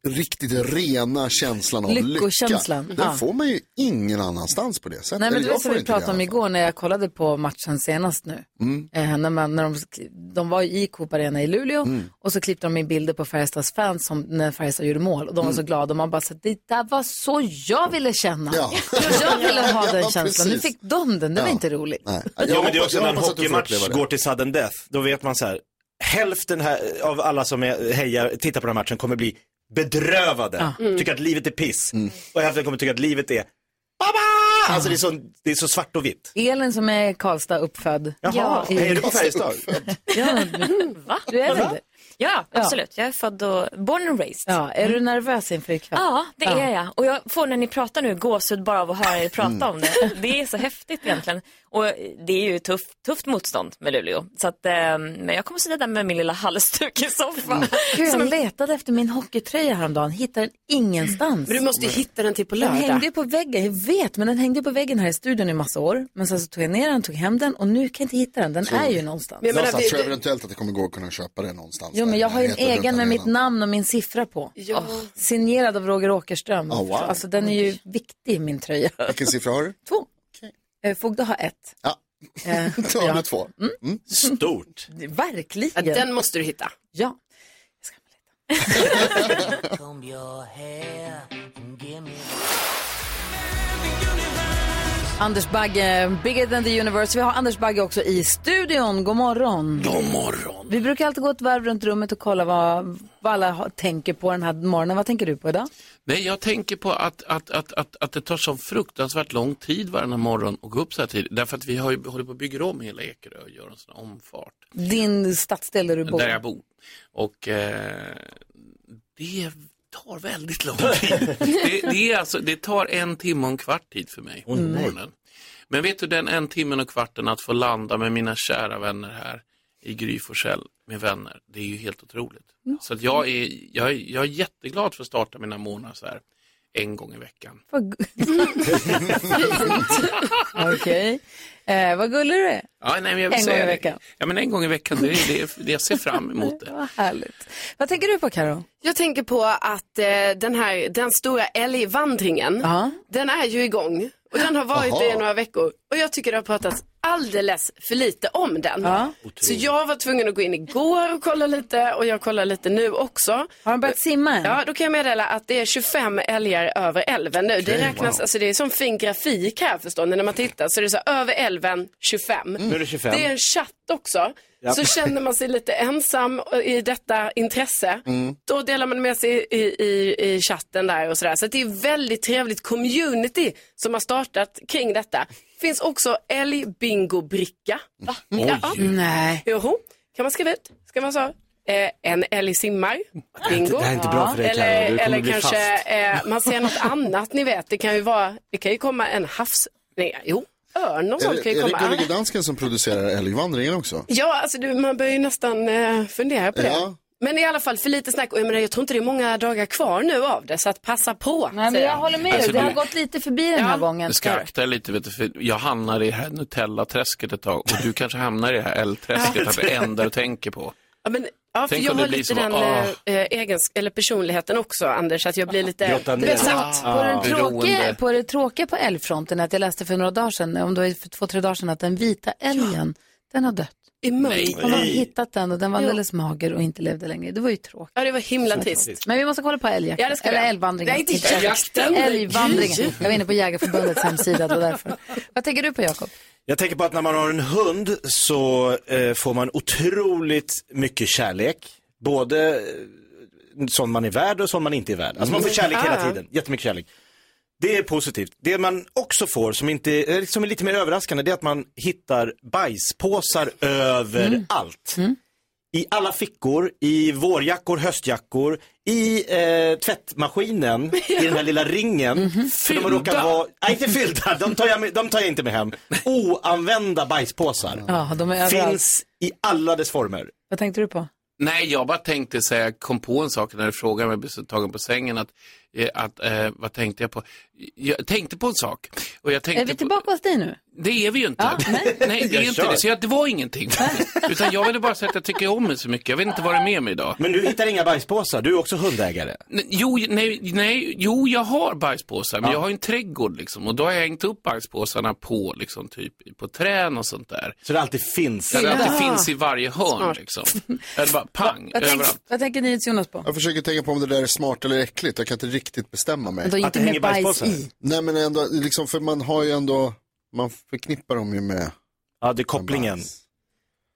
Speaker 7: riktigt rena känslan av
Speaker 5: Lyckokänslan,
Speaker 7: lycka,
Speaker 5: ja.
Speaker 7: den får man ju ingen annanstans på det sättet.
Speaker 5: Nej, men
Speaker 7: Eller
Speaker 5: det var
Speaker 7: jag
Speaker 5: som
Speaker 7: får
Speaker 5: vi
Speaker 7: inte Mm. det
Speaker 5: pratade om
Speaker 7: i alla
Speaker 5: igår när jag kollade på matchen senast nu. Eh, när man, när de, sk- de var ju i Coop Arena i Luleå
Speaker 7: Mm.
Speaker 5: och så klippte de in bilder på Färjestads fans som, när Färjestad gjorde mål och de
Speaker 7: Mm.
Speaker 5: var så glada och man bara så här, det där var så jag ville känna.
Speaker 7: Ja.
Speaker 5: Jag ville ha
Speaker 7: Ja,
Speaker 5: den känslan, nu
Speaker 7: precis.
Speaker 5: fick de den, det var inte roligt.
Speaker 7: fall. Nej.
Speaker 8: ja, men det är
Speaker 7: hoppas-
Speaker 8: också när en
Speaker 7: hoppas att du får
Speaker 8: hockeymatch
Speaker 7: uppleva det.
Speaker 8: går till sudden death, då vet man så här, hälften här, av alla som är, hejar, tittar på den här matchen kommer bli bedrövade,
Speaker 7: Mm.
Speaker 5: Ja.
Speaker 8: tycker att livet är piss. Och hälften kommer tycka att livet är, Baba! Alltså det är, så, det är så svart och vitt.
Speaker 5: Elin som är i Karlstad uppfödd.
Speaker 8: Jaha,
Speaker 7: Mm.
Speaker 5: I-
Speaker 8: hejar du på Färjestad?
Speaker 5: Ja,
Speaker 6: Va?
Speaker 5: du är väl det?
Speaker 6: Ja, absolut. Jag är född och born and raised.
Speaker 5: Ja,
Speaker 9: Mm.
Speaker 5: är du nervös inför ikväll?
Speaker 6: Ja, det är jag. Och jag får när ni pratar nu gåshud bara av att höra er prata
Speaker 12: Mm.
Speaker 6: om det. Det är så häftigt egentligen. Och det är ju tuff, tufft motstånd med Luleå. Så att, eh, men jag kommer sitta där med min lilla halsduk i
Speaker 12: Mm.
Speaker 6: soffan.
Speaker 5: Gud,
Speaker 6: Som
Speaker 5: jag
Speaker 6: en-
Speaker 5: letade efter min hockeytröja häromdagen, hittade den ingenstans.
Speaker 9: Men du måste ju hitta den till på
Speaker 5: Den hängde
Speaker 9: lördag.
Speaker 5: ju på väggen, jag vet, men den hängde ju på väggen här i studion i massa år. Men sen så tog jag ner den, tog hem den och nu kan jag inte hitta den, den är ju någonstans.
Speaker 9: Men jag
Speaker 7: Jag,
Speaker 9: menar,
Speaker 7: jag tror
Speaker 9: vi,
Speaker 7: eventuellt att det kommer gå att kunna köpa det någonstans.
Speaker 5: alltså Jo,
Speaker 7: där
Speaker 5: men jag har ju en
Speaker 7: närheten runt
Speaker 5: egen med
Speaker 7: arenan.
Speaker 5: mitt namn och min siffra på.
Speaker 9: Ja.
Speaker 5: Åh, signerad av Roger Åkerström.
Speaker 7: Oh, wow.
Speaker 5: Alltså den är ju viktig, min tröja.
Speaker 7: Vilken siffra har du?
Speaker 5: Två. Eh, Fogde har ett.
Speaker 7: Ja.
Speaker 5: Eh,
Speaker 7: Då har du två.
Speaker 8: Stort.
Speaker 9: ja,
Speaker 5: verkligen. Ja,
Speaker 9: den måste du hitta.
Speaker 5: ja. Anders Bagge, bigger than the universe. Vi har Anders Bagge också i studion. God morgon.
Speaker 8: God morgon.
Speaker 5: Vi brukar alltid gå ett varv runt rummet och kolla vad, vad alla har, tänker på den här morgonen. Vad tänker du på idag?
Speaker 12: Nej, jag tänker på att, att, att, att, att det tar så fruktansvärt lång tid varje morgon att gå upp så här tidigt. Därför att vi har ju, håller på att bygga om hela Ekerö och gör en sån här omfart
Speaker 5: Din stadsdel där du bor.
Speaker 12: där jag bor. Och eh, det tar väldigt lång tid. det, det, är alltså, det tar en timme och en kvart tid för mig på morgonen. Men vet du, den en timmen och kvarten att få landa med mina kära vänner här i Gry Forssell med vänner, det är ju helt otroligt. Så att jag, är, jag, är, jag är jätteglad för att starta mina morgnar så här en gång i veckan.
Speaker 5: Vad gu- Okej. Eh, vad gullig du är.
Speaker 12: Ja, nej, men jag vill
Speaker 5: En
Speaker 12: säga
Speaker 5: gång i
Speaker 12: det.
Speaker 5: veckan.
Speaker 12: Ja, men en gång i veckan, det är det, det jag ser fram emot. Det.
Speaker 5: Vad härligt. Vad tänker du på Karo?
Speaker 9: Jag tänker på att eh, den här, den stora älgvandringen,
Speaker 5: Ja.
Speaker 9: den är ju igång. Och den har varit det i
Speaker 7: Aha.
Speaker 9: några veckor. Och jag tycker det har pratats alldeles för lite om den.
Speaker 5: Ja.
Speaker 9: Så jag var tvungen att gå in igår och kolla lite och jag kollar lite nu också. Eh,
Speaker 5: Har de börjat simma än?
Speaker 9: Ja, då kan jag meddela att det är 25 älgar över älven nu. det räknas, alltså det är sån fin grafik här förstår ni, när man tittar så är det så här, över älven 25.
Speaker 8: Mm. Nu är det 25.
Speaker 9: Det är en chatt också.
Speaker 8: Ja.
Speaker 9: Så känner man sig lite ensam i detta intresse.
Speaker 8: Mm.
Speaker 9: Då delar man med sig i, i, i chatten där och sådär. Så att det är väldigt trevligt community som har startat kring detta. Finns också älgbingobricka. Va? Ja.
Speaker 5: Nej.
Speaker 9: Joho, kan man skriva ut. Ska man så eh, en älg simmar, bingo.
Speaker 8: det här är inte bra för dig, Karo. Du
Speaker 9: Eller,
Speaker 8: kommer
Speaker 9: eller
Speaker 8: bli
Speaker 9: kanske
Speaker 8: fast.
Speaker 9: eh, man ser något annat, ni vet. Det kan ju vara, det kan ju komma en havs... Nej, jo, örn och
Speaker 7: Är
Speaker 9: sånt
Speaker 7: det,
Speaker 9: kan ju
Speaker 7: är det
Speaker 9: komma.
Speaker 7: Gullige Dansken som producerar Älgvandringen också?
Speaker 9: Ja, alltså du, man börjar ju nästan eh, fundera på det.
Speaker 7: Ja.
Speaker 9: Men i alla fall för lite snack och jag, menar, jag tror inte det är många dagar kvar nu av det så att passa på.
Speaker 5: Nej, men
Speaker 9: säger
Speaker 5: jag håller med dig.
Speaker 12: Alltså,
Speaker 5: Det har
Speaker 12: du-
Speaker 5: gått lite förbi den här gången.
Speaker 12: Du ska akta dig lite, vet du, för jag hamnar i det här Nutella-träsket ett tag och du kanske hamnar i det här L-träsket, att det enda du tänker på.
Speaker 9: Ja, men, ja, för
Speaker 12: Tänk
Speaker 9: jag
Speaker 12: om det
Speaker 9: har
Speaker 12: blir Ah.
Speaker 9: lite
Speaker 12: som
Speaker 9: den
Speaker 12: att,
Speaker 9: eh, eh, egens, eller personligheten också Anders, att jag blir lite
Speaker 12: Grotta ner.
Speaker 9: besatt.
Speaker 12: Ja.
Speaker 5: På, den tråkiga,
Speaker 12: beroende.
Speaker 5: på det tråkiga på älgfronten är att jag läste för några dagar sedan, om det var för två, tre dagar sedan, att den vita älgen, den har dött.
Speaker 9: I mörk.
Speaker 5: Man har hittat den och den var
Speaker 9: Jo.
Speaker 5: alldeles mager och inte levde längre. Det var ju tråkigt.
Speaker 9: Ja, det var himla trist.
Speaker 5: Men vi måste kolla på älgjakten.
Speaker 9: Ja, det ska vi
Speaker 5: Eller
Speaker 9: göra.
Speaker 5: älgvandringen.
Speaker 9: Nej, inte
Speaker 5: Inte älg-
Speaker 9: jakten.
Speaker 5: Älgvandringen.
Speaker 9: Gud.
Speaker 5: Jag var inne på Jägarförbundets hemsida, det var därför. Vad tänker du på, Jakob?
Speaker 8: Jag tänker på att när man har en hund så eh, får man otroligt mycket kärlek. Både eh, sån man är värd och sån man inte är värd. Alltså man får kärlek
Speaker 4: Ah.
Speaker 8: hela tiden, jättemycket kärlek. Det är positivt. Det man också får som, inte, eh, som är lite mer överraskande det är att man hittar bajspåsar överallt. I alla fickor, i vårjackor, höstjackor, i eh, tvättmaskinen, i den här lilla ringen.
Speaker 12: Mhm.
Speaker 8: För de har råkat vara, nej inte fyllda, de tar, jag med, de tar jag inte med hem. Oanvända bajspåsar.
Speaker 5: Ja, de är överallt.
Speaker 8: Finns i alla dess former.
Speaker 5: Vad tänkte du på?
Speaker 12: Nej, jag bara tänkte säga, jag kom på en sak när du frågade mig, jag blev så tagen på sängen, att, eh, att eh, vad tänkte jag på? Jag tänkte på en sak. Och jag tänkte
Speaker 5: Är vi
Speaker 12: på-
Speaker 5: tillbaka hos dig nu?
Speaker 12: Det är vi ju inte. nej. det är
Speaker 5: Jag
Speaker 12: inte
Speaker 5: kör.
Speaker 12: det. Så jag, det var ingenting. Utan jag ville bara säga att jag tycker om mig så mycket. Jag vet inte vad det är med mig idag.
Speaker 8: Men du hittar inga bajspåsar, du är också hundägare.
Speaker 12: Nej, Jo, nej, nej, jo, jag har bajspåsar, men jag har ju en trädgård liksom, och då har jag hängt upp bajspåsarna på, liksom, typ, på trän och sånt där.
Speaker 8: Så det alltid finns?
Speaker 12: Ja, det alltid
Speaker 5: Ja.
Speaker 12: finns i varje hörn.
Speaker 5: Smart.
Speaker 12: Liksom. Eller bara pang,
Speaker 5: Vad tänker,
Speaker 12: överallt.
Speaker 5: vad tänker ni Jonas på?
Speaker 7: Jag försöker tänka på om det där är smart eller äckligt. Jag kan inte riktigt bestämma mig.
Speaker 5: Men då inte Att det med hänger bajs bajspåsar? i.
Speaker 7: Nej men ändå, liksom, för man har ju ändå, man förknippar dem ju med.
Speaker 8: Ja, det är kopplingen.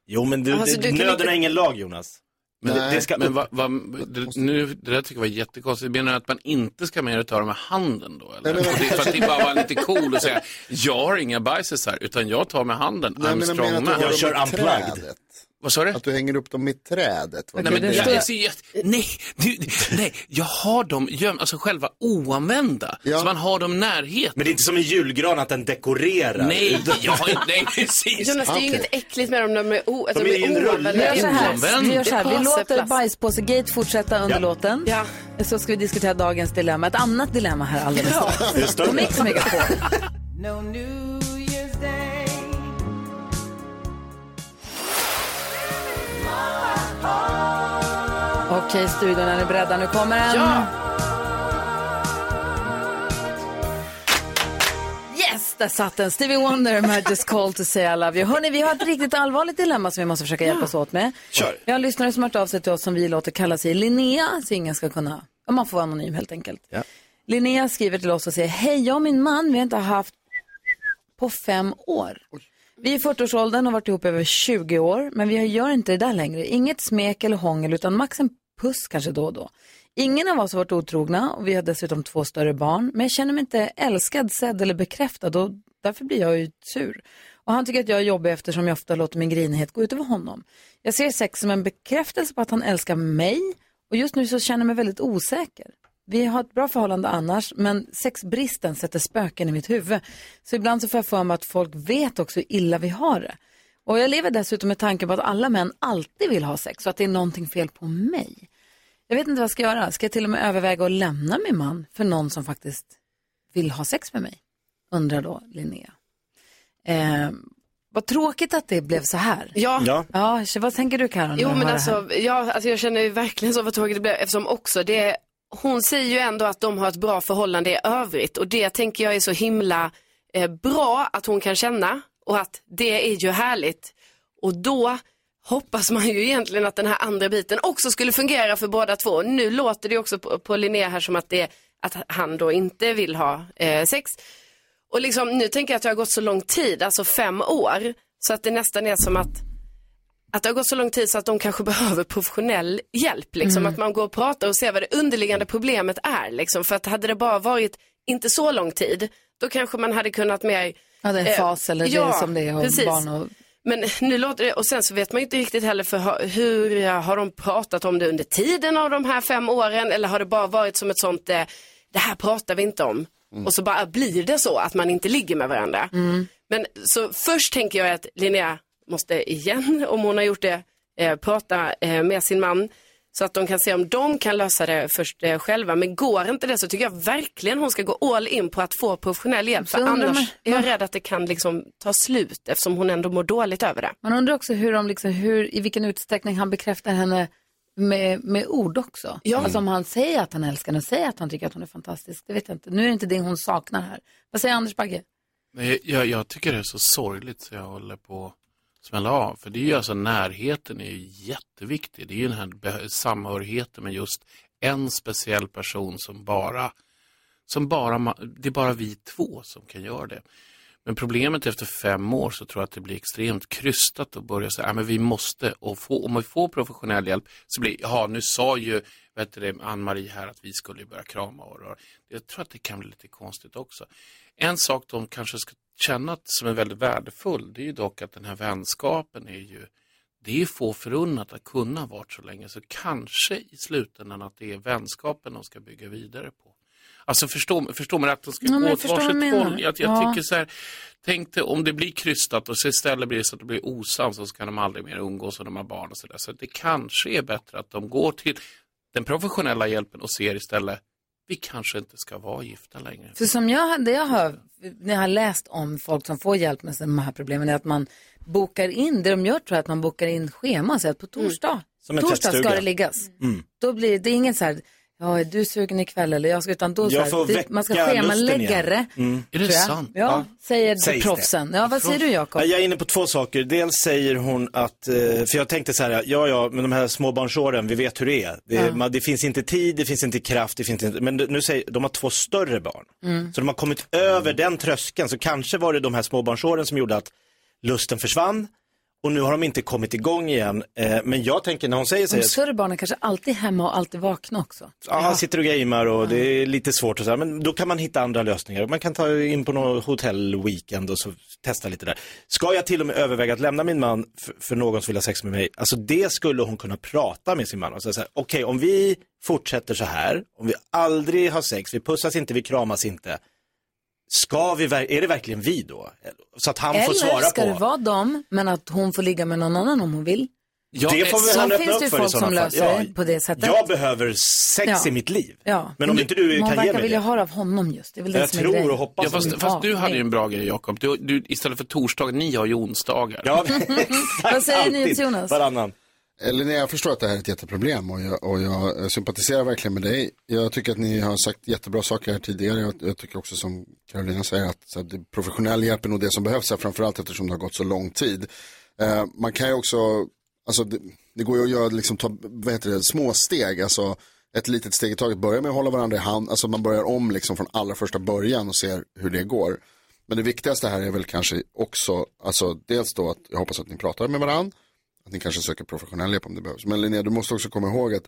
Speaker 8: Jo, men du,
Speaker 12: Alltså,
Speaker 8: det-
Speaker 12: du kan
Speaker 8: nöden
Speaker 12: inte-
Speaker 8: har ingen lag Jonas. Men det, det ska
Speaker 12: men
Speaker 8: upp.
Speaker 12: vad- vad- det, nu, det där tycker jag var jättekonstigt. Menar du att man inte ska mer ta dem med handen då? Eller?
Speaker 7: Nej, men-
Speaker 12: Och det är för att det bara var lite cool och säga, jag har inga bajsisar, utan jag tar med handen.
Speaker 7: Nej,
Speaker 12: I'm
Speaker 7: men jag
Speaker 12: strong
Speaker 7: menar att du
Speaker 12: man.
Speaker 7: har dem i trädet.
Speaker 12: Vad sa du?
Speaker 7: Att du hänger upp dem i trädet. Vad
Speaker 12: Nej, men
Speaker 7: kan
Speaker 12: jag,
Speaker 7: det-
Speaker 12: jag, ser jätte- nej, du, nej, jag har dem gömda, alltså själva oanvända. Så man har dem i närheten.
Speaker 8: Men det är inte som en julgran att den dekorerar.
Speaker 12: Nej, jag har inte, nej precis.
Speaker 9: Jonas, det är ju inget äckligt med dem, de är, o, alltså,
Speaker 12: De
Speaker 9: de
Speaker 12: är
Speaker 9: är
Speaker 12: ju en rulle.
Speaker 5: Vi
Speaker 9: oanvända.
Speaker 5: gör så här,
Speaker 12: Omvänd.
Speaker 5: vi, gör så här. vi
Speaker 9: Det är
Speaker 5: låter
Speaker 9: påseplast.
Speaker 5: bajspåsegate fortsätta under
Speaker 9: Ja.
Speaker 5: låten. Så ska vi diskutera dagens dilemma. Ett annat dilemma här alldeles
Speaker 1: Ja.
Speaker 5: strax.
Speaker 1: Just det.
Speaker 5: På Mix Megapol.
Speaker 1: No New Year's Day.
Speaker 5: Okej, studion, är ni beredda? Nu kommer den. Yes, där satt den. Stevie Wonder, med Just Call to Say I Love You. Hörni, vi har ett riktigt allvarligt dilemma som vi måste försöka hjälpas åt med.
Speaker 1: Kör.
Speaker 5: Vi har en lyssnare som har hört av sig till oss som vi låter kalla sig Linnea, så ingen ska kunna... ja, Man får vara anonym helt enkelt. Linnea skriver till oss och säger, hej, jag och min man, vi har inte haft på fem år. Vi är i 40-årsåldern och har varit ihop över 20 år, men vi gör inte det där längre. Inget smek eller hångel, utan max en puss kanske då och då. Ingen av oss har varit otrogna och vi har dessutom två större barn, men jag känner mig inte älskad, sedd eller bekräftad och därför blir jag ju sur. Och han tycker att jag är jobbig eftersom jag ofta låter min grinighet gå ut över honom. Jag ser sex som en bekräftelse på att han älskar mig och just nu så känner jag mig väldigt osäker. Vi har ett bra förhållande annars, men sexbristen sätter spöken i mitt huvud. Så ibland så får jag för mig att folk vet också hur illa vi har det. Och jag lever dessutom med tanken på att alla män alltid vill ha sex och att det är någonting fel på mig. Jag vet inte vad jag ska göra. Ska jag till och med överväga att lämna min man för någon som faktiskt vill ha sex med mig? Undrar då Linnea. Eh, vad tråkigt att det blev så här.
Speaker 9: Ja.
Speaker 8: Ja.
Speaker 5: ja så vad tänker du Karin? när
Speaker 9: Jo
Speaker 5: du
Speaker 9: men
Speaker 5: hör det här?
Speaker 9: alltså, ja, alltså jag känner ju verkligen så vad tråkigt det blev eftersom också det är, hon säger ju ändå att de har ett bra förhållande i övrigt och det tänker jag är så himla eh, bra att hon kan känna och att det är ju härligt och då hoppas man ju egentligen att den här andra biten också skulle fungera för båda två. Nu låter det också på, på Linnea här som att, det, att han då inte vill ha eh, sex. Och liksom, nu tänker jag att det har gått så lång tid, alltså fem år, så att det nästan är som att att det har gått så lång tid så att de kanske behöver professionell hjälp. Liksom.
Speaker 13: Mm.
Speaker 9: Att man går och pratar och ser vad det underliggande problemet är. Liksom. För att hade det bara varit inte så lång tid, då kanske man hade kunnat mer... eh,
Speaker 5: Ja, det är en fas eller det är som det är och barn och
Speaker 9: Men nu låter det, och sen så vet man ju inte riktigt heller för ha- hur eh, har de pratat om det under tiden av de här fem åren eller har det bara varit som ett sånt, eh, det här pratar vi inte om.
Speaker 14: Mm.
Speaker 9: Och så bara blir det så att man inte ligger med varandra.
Speaker 5: Mm.
Speaker 9: Men så först tänker jag att Linnea måste igen, om hon har gjort det, eh, prata eh, med sin man så att de kan se om de kan lösa det först eh, själva. Men går inte det så tycker jag verkligen hon ska gå all in på att få professionell hjälp. För
Speaker 5: Så undrar
Speaker 9: annars
Speaker 5: man-
Speaker 9: är jag rädd att det kan liksom ta slut eftersom hon ändå mår dåligt över det.
Speaker 5: Man undrar också hur de liksom, hur, i vilken utsträckning han bekräftar henne med, med ord också.
Speaker 9: Ja.
Speaker 5: Alltså om han säger att han älskar henne och säger att han tycker att hon är fantastisk, det vet jag inte. Nu är det inte det hon saknar här. Vad säger Anders Bagge?
Speaker 12: Nej, jag, jag tycker det är så sorgligt så jag håller på att smälla av. För det är ju alltså närheten är ju jätteviktig. Det är ju den här be- samhörigheten med just en speciell person som bara, som bara, ma- det är bara vi två som kan göra det. Men problemet efter fem år så tror jag att det blir extremt krystat och börja säga, "Ja, men vi måste, och få, om vi får professionell hjälp så blir, ja nu sa ju vet du, det, Ann-Marie här att vi skulle börja krama och röra. Jag tror att det kan bli lite konstigt också. En sak de kanske ska känna som är väldigt värdefull, det är ju dock att den här vänskapen är ju, det är få förunnat att kunna vart så länge, så kanske i slutändan att det är vänskapen de ska bygga vidare på. Alltså förstå, förstå mig rätt, de ska
Speaker 5: Ja, men
Speaker 12: gå
Speaker 5: jag
Speaker 12: åt
Speaker 5: förstår vad du
Speaker 12: varsitt
Speaker 5: menar.
Speaker 12: håll. Jag, jag
Speaker 5: Ja.
Speaker 12: tycker så här, tänk dig om det blir krystat och så istället blir det så att det blir osams och så kan de aldrig mer umgås och de har barn och sådär. Så det kanske är bättre att de går till den professionella hjälpen och ser istället, vi kanske inte ska vara gifta längre.
Speaker 5: För som jag, det jag hör, när jag har läst om folk som får hjälp med de här problemen är att man bokar in, det de gör tror jag är att man bokar in schema, så att på
Speaker 8: Mm.
Speaker 5: torsdag,
Speaker 1: Som en
Speaker 5: torsdag ska
Speaker 1: teststuga.
Speaker 5: det liggas. Då blir det, det är ingen så här, ja är du sugen ikväll eller jag ska, utan då så
Speaker 1: Jag
Speaker 5: här,
Speaker 1: får
Speaker 5: det, man ska
Speaker 1: väcka lusten
Speaker 5: schemalägga
Speaker 1: igen.
Speaker 5: det.
Speaker 8: Mm. Är det
Speaker 5: tror jag.
Speaker 8: sant?
Speaker 5: Ja,
Speaker 8: Ja.
Speaker 5: säger
Speaker 8: Sägs det.
Speaker 5: proffsen. Ja, vad säger du Jakob?
Speaker 8: Ja, Jag är inne på två saker. Dels säger hon att, eh, för jag tänkte så här, ja ja, men de här småbarnsåren, vi vet hur det är. Det, man, det finns inte tid, det finns inte kraft, det finns inte, men nu säger de har två större barn.
Speaker 15: Mm.
Speaker 8: Så de har kommit över den tröskeln, så kanske var det de här småbarnsåren som gjorde att lusten försvann och nu har de inte kommit igång igen. Eh, men jag tänker när hon säger så
Speaker 5: De
Speaker 8: här,
Speaker 5: större barnen kanske alltid är hemma och alltid vakna också.
Speaker 8: Ja, han sitter och gamer och det är lite svårt och så här, men då kan man hitta andra lösningar. Man kan ta in på någon hotellweekend och så testa lite där. Ska jag till och med överväga att lämna min man för, för någon som vill ha sex med mig? Alltså det skulle hon kunna prata med sin man och säga så här, okej om vi fortsätter så här, om vi aldrig har sex, vi pussas inte, vi kramas inte. Ska vi, ver- är det verkligen vi då? Så att han får svara
Speaker 5: Eller ska
Speaker 8: på.
Speaker 5: det vara dem, men att hon får ligga med någon annan om hon vill?
Speaker 8: Ja, det får väl
Speaker 5: så
Speaker 8: han öppna
Speaker 5: finns det
Speaker 8: upp
Speaker 5: ju
Speaker 8: för i
Speaker 5: folk som
Speaker 8: sådana fall.
Speaker 5: löser det på det sättet.
Speaker 8: Jag behöver sex
Speaker 5: Ja.
Speaker 8: i mitt liv.
Speaker 5: Ja.
Speaker 8: Men om inte du
Speaker 5: hon
Speaker 8: kan ge
Speaker 5: verkar
Speaker 8: mig
Speaker 5: vilja
Speaker 8: det.
Speaker 5: höra av honom just. Det är väl det som är grejen.
Speaker 12: Ja, fast, fast du hade ju en bra grej Jakob. Du, du, istället för torsdagar, ni har ju onsdagar.
Speaker 5: Vad säger ni, Alltid. Jonas?
Speaker 8: Varannan.
Speaker 7: Linnea, jag förstår att det här är ett jätteproblem och jag, och jag sympatiserar verkligen med dig. Jag tycker att ni har sagt jättebra saker här tidigare. Jag, jag tycker också som Carolina säger att så här, det professionell hjälp är nog det som behövs här, framförallt eftersom det har gått så lång tid. Eh, man kan ju också, alltså det, det går ju att göra, liksom, ta, vad heter det, små steg, alltså ett litet steg i taget. Börja med att hålla varandra i hand, alltså man börjar om liksom från allra första början och ser hur det går. Men det viktigaste här är väl kanske också, alltså dels då att jag hoppas att ni pratar med varandra, att ni kanske söker professionell hjälp om det behövs. Men Linnea, du måste också komma ihåg att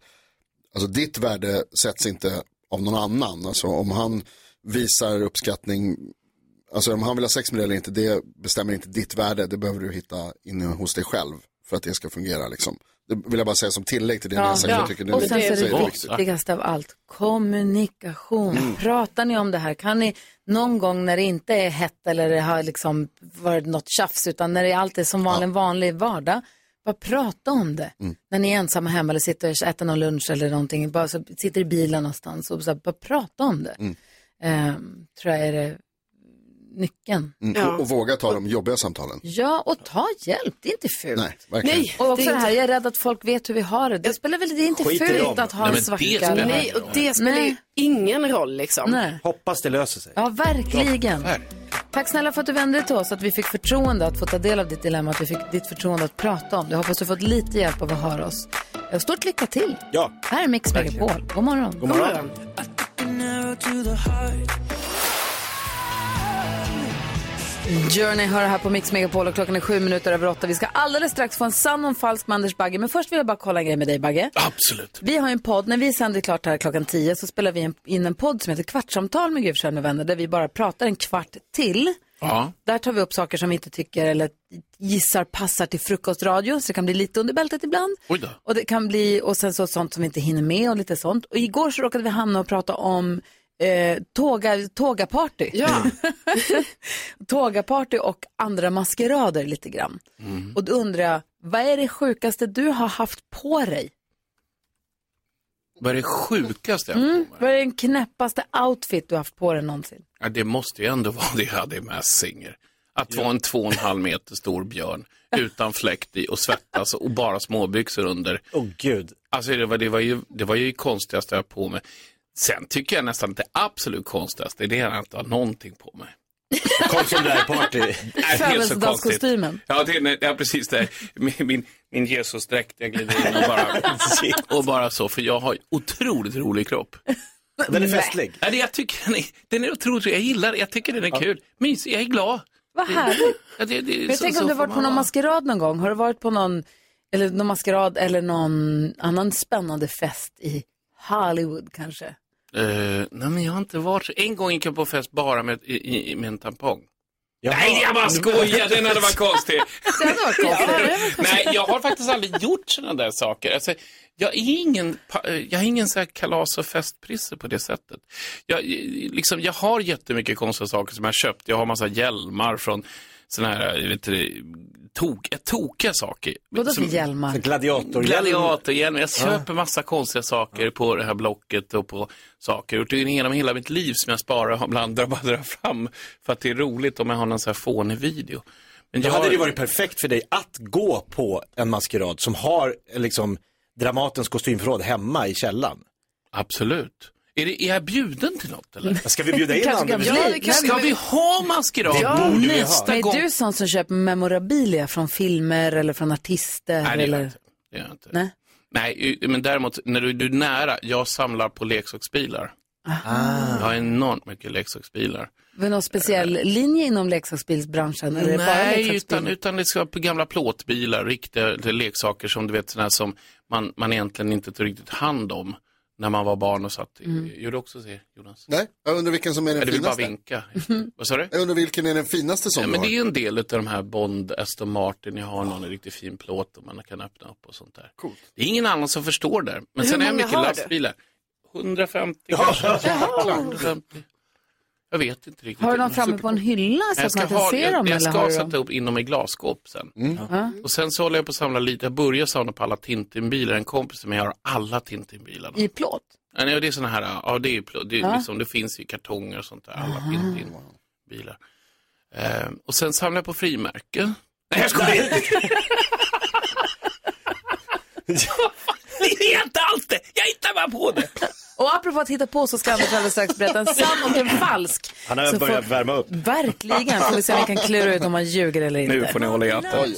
Speaker 7: alltså, ditt värde sätts inte av någon annan. Alltså om han visar uppskattning, alltså om han vill ha sex med dig eller inte, det bestämmer inte ditt värde. Det behöver du hitta inne hos dig själv för att det ska fungera liksom. Det vill jag bara säga som tillägg till det ni har sagt. Jag tycker det är
Speaker 5: och sen så
Speaker 7: viktigt.
Speaker 5: är
Speaker 7: Så
Speaker 5: det viktigaste av allt, kommunikation.
Speaker 8: Mm.
Speaker 5: Pratar ni om det här? Kan ni någon gång när det inte är hett eller det har liksom varit något tjafs, utan när det allt är som vanlig, en vanlig vardag, bara prata om det.
Speaker 8: Mm.
Speaker 5: När ni är ensamma hemma eller sitter och äter någon lunch eller någonting, bara så sitter i bilen någonstans och så här, bara prata om det.
Speaker 7: Mm.
Speaker 5: Ehm, tror jag är det nyckeln.
Speaker 7: Mm. Och, och våga ta de jobbiga samtalen.
Speaker 5: Ja, och ta hjälp. Det är inte fult.
Speaker 7: Nej, verkligen.
Speaker 5: Nej, och också det här, jag är rädd att folk vet hur vi har det. Det spelar väl, det är inte
Speaker 8: Skit i
Speaker 5: fult
Speaker 8: dem.
Speaker 5: att ha
Speaker 8: Nej,
Speaker 5: en
Speaker 8: men det
Speaker 5: svacka.
Speaker 8: spelar
Speaker 5: eller-
Speaker 8: Nej, och
Speaker 9: det spelar ju ingen roll liksom.
Speaker 5: Nej.
Speaker 8: Hoppas det löser sig.
Speaker 5: Ja, verkligen. Tack snälla för att du vände dig till oss, att vi fick förtroende att få ta del av ditt dilemma, att vi fick ditt förtroende att prata om det. Jag hoppas du fått lite hjälp av att höra oss. Ja, Stort lycka till.
Speaker 8: Ja.
Speaker 5: Här är Mix
Speaker 8: Verkligen.
Speaker 5: Megapol. God morgon.
Speaker 8: God morgon.
Speaker 5: Journey hör här på Mix Megapol och klockan är sju minuter över åtta. Vi ska alldeles strax få en sann och en falsk med Anders Bagge, men först vill jag bara kolla en grej med dig Bagge.
Speaker 12: Absolut.
Speaker 5: Vi har ju en podd, när vi sänder klart här klockan 10 så spelar vi en- in en podd som heter Kvartsamtal med Gud med vänner där vi bara pratar en kvart till
Speaker 12: Ja.
Speaker 5: Där tar vi upp saker som vi inte tycker eller gissar passar till frukostradio, så det kan bli lite under bältet ibland.
Speaker 12: Oj då.
Speaker 5: Och det kan bli, och sen så sånt som vi inte hinner med och lite sånt. Och igår så råkade vi hamna och prata om eh, tåga, tågaparty.
Speaker 1: Ja.
Speaker 5: tågaparty och andra maskerader lite grann.
Speaker 12: Mm.
Speaker 5: Och då undrar jag, vad är det sjukaste du har haft på dig?
Speaker 12: Vad är det sjukaste?
Speaker 5: Mm, vad är den knäppaste outfit du har haft på dig någonsin?
Speaker 12: Ja, det måste ju ändå vara det jag hade med Singer. Att vara en två och en halv meter stor björn utan fläkt i och svettas och bara småbyxor under.
Speaker 8: Åh oh, gud.
Speaker 12: Alltså det var, det var ju det var ju konstigaste jag har på mig. Sen tycker jag nästan att det absolut konstigaste det är att inte ha någonting på mig.
Speaker 8: Kom som du är party.
Speaker 12: Nej, det är så konstigt.
Speaker 5: Födelsedagskostymen.
Speaker 12: Ja, det är, ja, precis det. Min, min, min Jesusdräkt, jag glider in och bara, och bara så, för jag har ju otroligt rolig kropp.
Speaker 8: Den är festlig.
Speaker 12: Ja, det, jag tycker den är, den är otroligt, jag gillar det, jag tycker den är kul. Mysig, jag är glad.
Speaker 5: Vad härligt.
Speaker 12: Ja, det, det,
Speaker 5: Men jag
Speaker 12: så-
Speaker 5: tänker
Speaker 12: så
Speaker 5: om du
Speaker 12: får
Speaker 5: har varit på
Speaker 12: man
Speaker 5: någon
Speaker 12: vara.
Speaker 5: maskerad någon gång. Har du varit på någon, eller någon maskerad eller någon annan spännande fest i Hollywood kanske?
Speaker 12: Eh, nej, men jag har inte varit så. En gång gick jag på fest bara med, i, i, med en tampong. Nej, jag bara skojar, den hade varit konstig.
Speaker 5: Det hade varit konstigt.
Speaker 12: Nej, jag har faktiskt aldrig gjort sådana där saker. Alltså, jag är ingen, pa- eh, jag är ingen så här kalas och festprisse på det sättet. Jag, eh, liksom, jag har jättemycket konstiga saker som jag har köpt. Jag har massa hjälmar från sådana här, jag vet inte, det, tok, tokiga saker.
Speaker 5: Vadå för
Speaker 12: Som-
Speaker 5: hjälmar?
Speaker 8: Gladiatorhjälm.
Speaker 12: Gladiatorhjälm. Jag köper massa konstiga saker på det här Blocket och på saker. Och det är genom hela mitt liv som jag sparar och ibland drar bara drar fram för att det är roligt om jag har någon sån här fånig video. Men
Speaker 8: Då hade det varit perfekt för dig att gå på en maskerad som har eh, liksom Dramatens kostymförråd hemma i källaren.
Speaker 12: Absolut. Är, det, är jag bjuden till något eller?
Speaker 8: Ska vi bjuda in
Speaker 5: Kanske
Speaker 8: Anders?
Speaker 5: kan
Speaker 8: Ja,
Speaker 5: bli.
Speaker 8: det
Speaker 5: Nej,
Speaker 12: Ska vi ha maskerad
Speaker 8: Ja, borde vi ha.
Speaker 12: nästa
Speaker 5: Men
Speaker 12: gång?
Speaker 5: är du sån som köper memorabilia från filmer eller från artister?
Speaker 12: Nej, det gör jag
Speaker 5: eller?
Speaker 12: inte. Det gör jag inte.
Speaker 5: Nej.
Speaker 12: Nej, men däremot när du, du är nära, jag samlar på leksaksbilar. Jag har enormt mycket leksaksbilar.
Speaker 5: Var det någon speciell linje inom leksaksbilsbranschen? Eller är det bara
Speaker 12: Eh. Nej, utan,
Speaker 5: leksaksbil?
Speaker 12: utan det ska vara på gamla plåtbilar, riktiga det är leksaker som du vet sådana som man, man egentligen inte tog riktigt hand om när man var barn och satt. Mm. Gjorde du också det Jonas?
Speaker 7: Nej, jag undrar vilken som är den
Speaker 12: Eller du vill bara
Speaker 7: finaste.
Speaker 12: vinka? Vad sa du?
Speaker 7: jag undrar vilken är den finaste som
Speaker 12: Ja,
Speaker 7: du
Speaker 12: men
Speaker 7: har.
Speaker 12: det är en del av de här Bond, Aston Martin, jag har någon i riktigt fin plåt och man kan öppna upp och sånt där.
Speaker 7: Coolt.
Speaker 12: Det är ingen annan som förstår det. Men
Speaker 1: Hur
Speaker 12: sen är jag
Speaker 1: många
Speaker 12: mycket
Speaker 1: har du?
Speaker 12: lastbilar. 150 kanske. 150. Jag vet inte riktigt.
Speaker 5: Har du någon framme på en hylla så
Speaker 12: Jag
Speaker 5: att
Speaker 12: ska,
Speaker 5: man kan
Speaker 12: ha,
Speaker 5: se
Speaker 12: jag, jag
Speaker 5: dem? eller
Speaker 12: ska
Speaker 5: har du dem?
Speaker 12: sätta upp inom i glasskåp sen.
Speaker 8: Mm.
Speaker 12: Och sen så håller jag på att samla lite, jag börjar samla på alla Tintinbilar. En kompis som jag har alla Tintinbilarna.
Speaker 5: I plåt?
Speaker 12: Ja, nej, det är såna här, ja det är ju pl- det, är liksom, det finns ju kartonger och sånt där, alla Tintin-bilar. Ehm, och sen samlar jag på frimärken. Nej jag skojar! Ja, fan, det är inte allt det, jag hittar bara på det.
Speaker 5: Och apropå att hitta på så ska Anders alldeles strax berätta en sann och en falsk.
Speaker 8: Han har
Speaker 5: Så
Speaker 8: börjat
Speaker 5: får-
Speaker 8: värma upp.
Speaker 5: Verkligen, får vi se om vi kan klura ut om man ljuger eller inte.
Speaker 12: får ni hålla i hatten.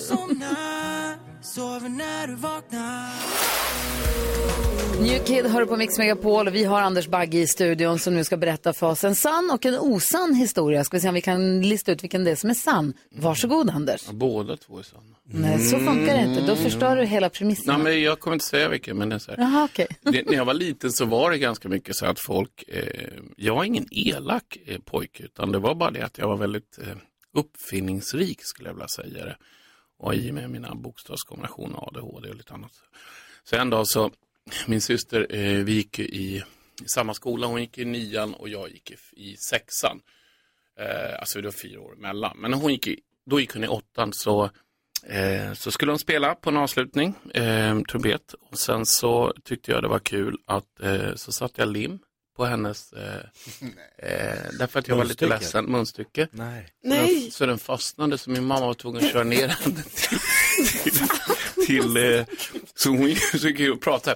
Speaker 5: New Kid hör på Mix Megapol och vi har Anders Bagge i studion som nu ska berätta för oss en sann och en osann historia. Ska vi se om vi kan lista ut vilken det är som är sann. Varsågod Anders.
Speaker 12: Båda två är sanna.
Speaker 5: Nej, så funkar det inte. Då förstör du hela
Speaker 12: Nej
Speaker 5: premissen.
Speaker 12: men jag kommer inte säga vilken men det är så här.
Speaker 5: Jaha, okej.
Speaker 12: det, när jag var liten så var det ganska mycket så att folk, eh, jag var ingen elak eh, pojke utan det var bara det att jag var väldigt eh, uppfinningsrik skulle jag vilja säga det. Och i och med mina bokstavskombinationer, ADHD och lite annat. Så en dag så, min syster, eh, vi gick ju i, i samma skola, hon gick i nian och jag gick i, i sexan. Eh, alltså det var fyra år emellan. Men när hon gick i, då gick hon i åttan så Eh, så skulle hon spela på en avslutning, eh, trumpet. Och sen så tyckte jag det var kul att eh, så satte jag lim på hennes, eh, eh, därför att jag var lite
Speaker 8: Munstycke.
Speaker 12: ledsen, munstycke.
Speaker 8: Nej.
Speaker 1: Nej.
Speaker 12: Så den fastnade så min mamma var tvungen att köra ner den till, till, till eh, så hon så gick jag och pratade.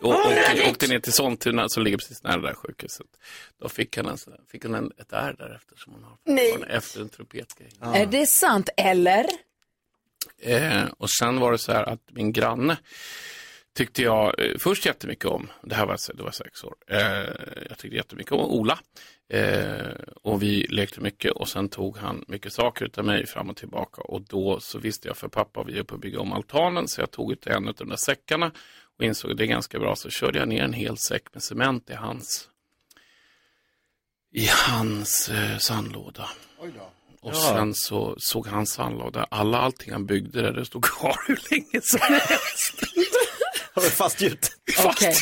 Speaker 12: Och, och åkte ner till Sollentuna som Alltså, ligger precis nära det där sjukhuset. Då fick hon, en, sån- fick hon en, ett ärr därefter som hon har fortfarande, efter en trumpetgrej.
Speaker 5: Är det sant eller?
Speaker 12: Eh, och sen var det så här att min granne tyckte jag eh, först jättemycket om, det här var, det var sex år, eh, jag tyckte jättemycket om Ola. Eh, och vi lekte mycket och sen tog han mycket saker utav mig fram och tillbaka och då så visste jag för pappa, vi är uppe och bygga om altanen, så jag tog ut en av de där säckarna och insåg att det är ganska bra, så körde jag ner en hel säck med cement i hans i hans eh, sandlåda. Och
Speaker 1: Ja.
Speaker 12: sen så såg han sandlåda, alla allting han byggde där, det stod kvar hur länge som helst.
Speaker 8: Det var fastgjut.
Speaker 5: Okej.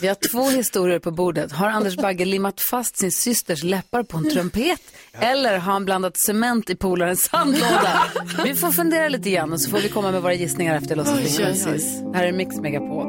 Speaker 5: Vi har två historier på bordet. Har Anders Bagge limmat fast sin systers läppar på en trumpet? Eller har han blandat cement i polarens sandlåda? vi får fundera lite igen och så får vi komma med våra gissningar efter Los
Speaker 4: Oj, oj, oj.
Speaker 5: Angeles. Här är Mix Megapol.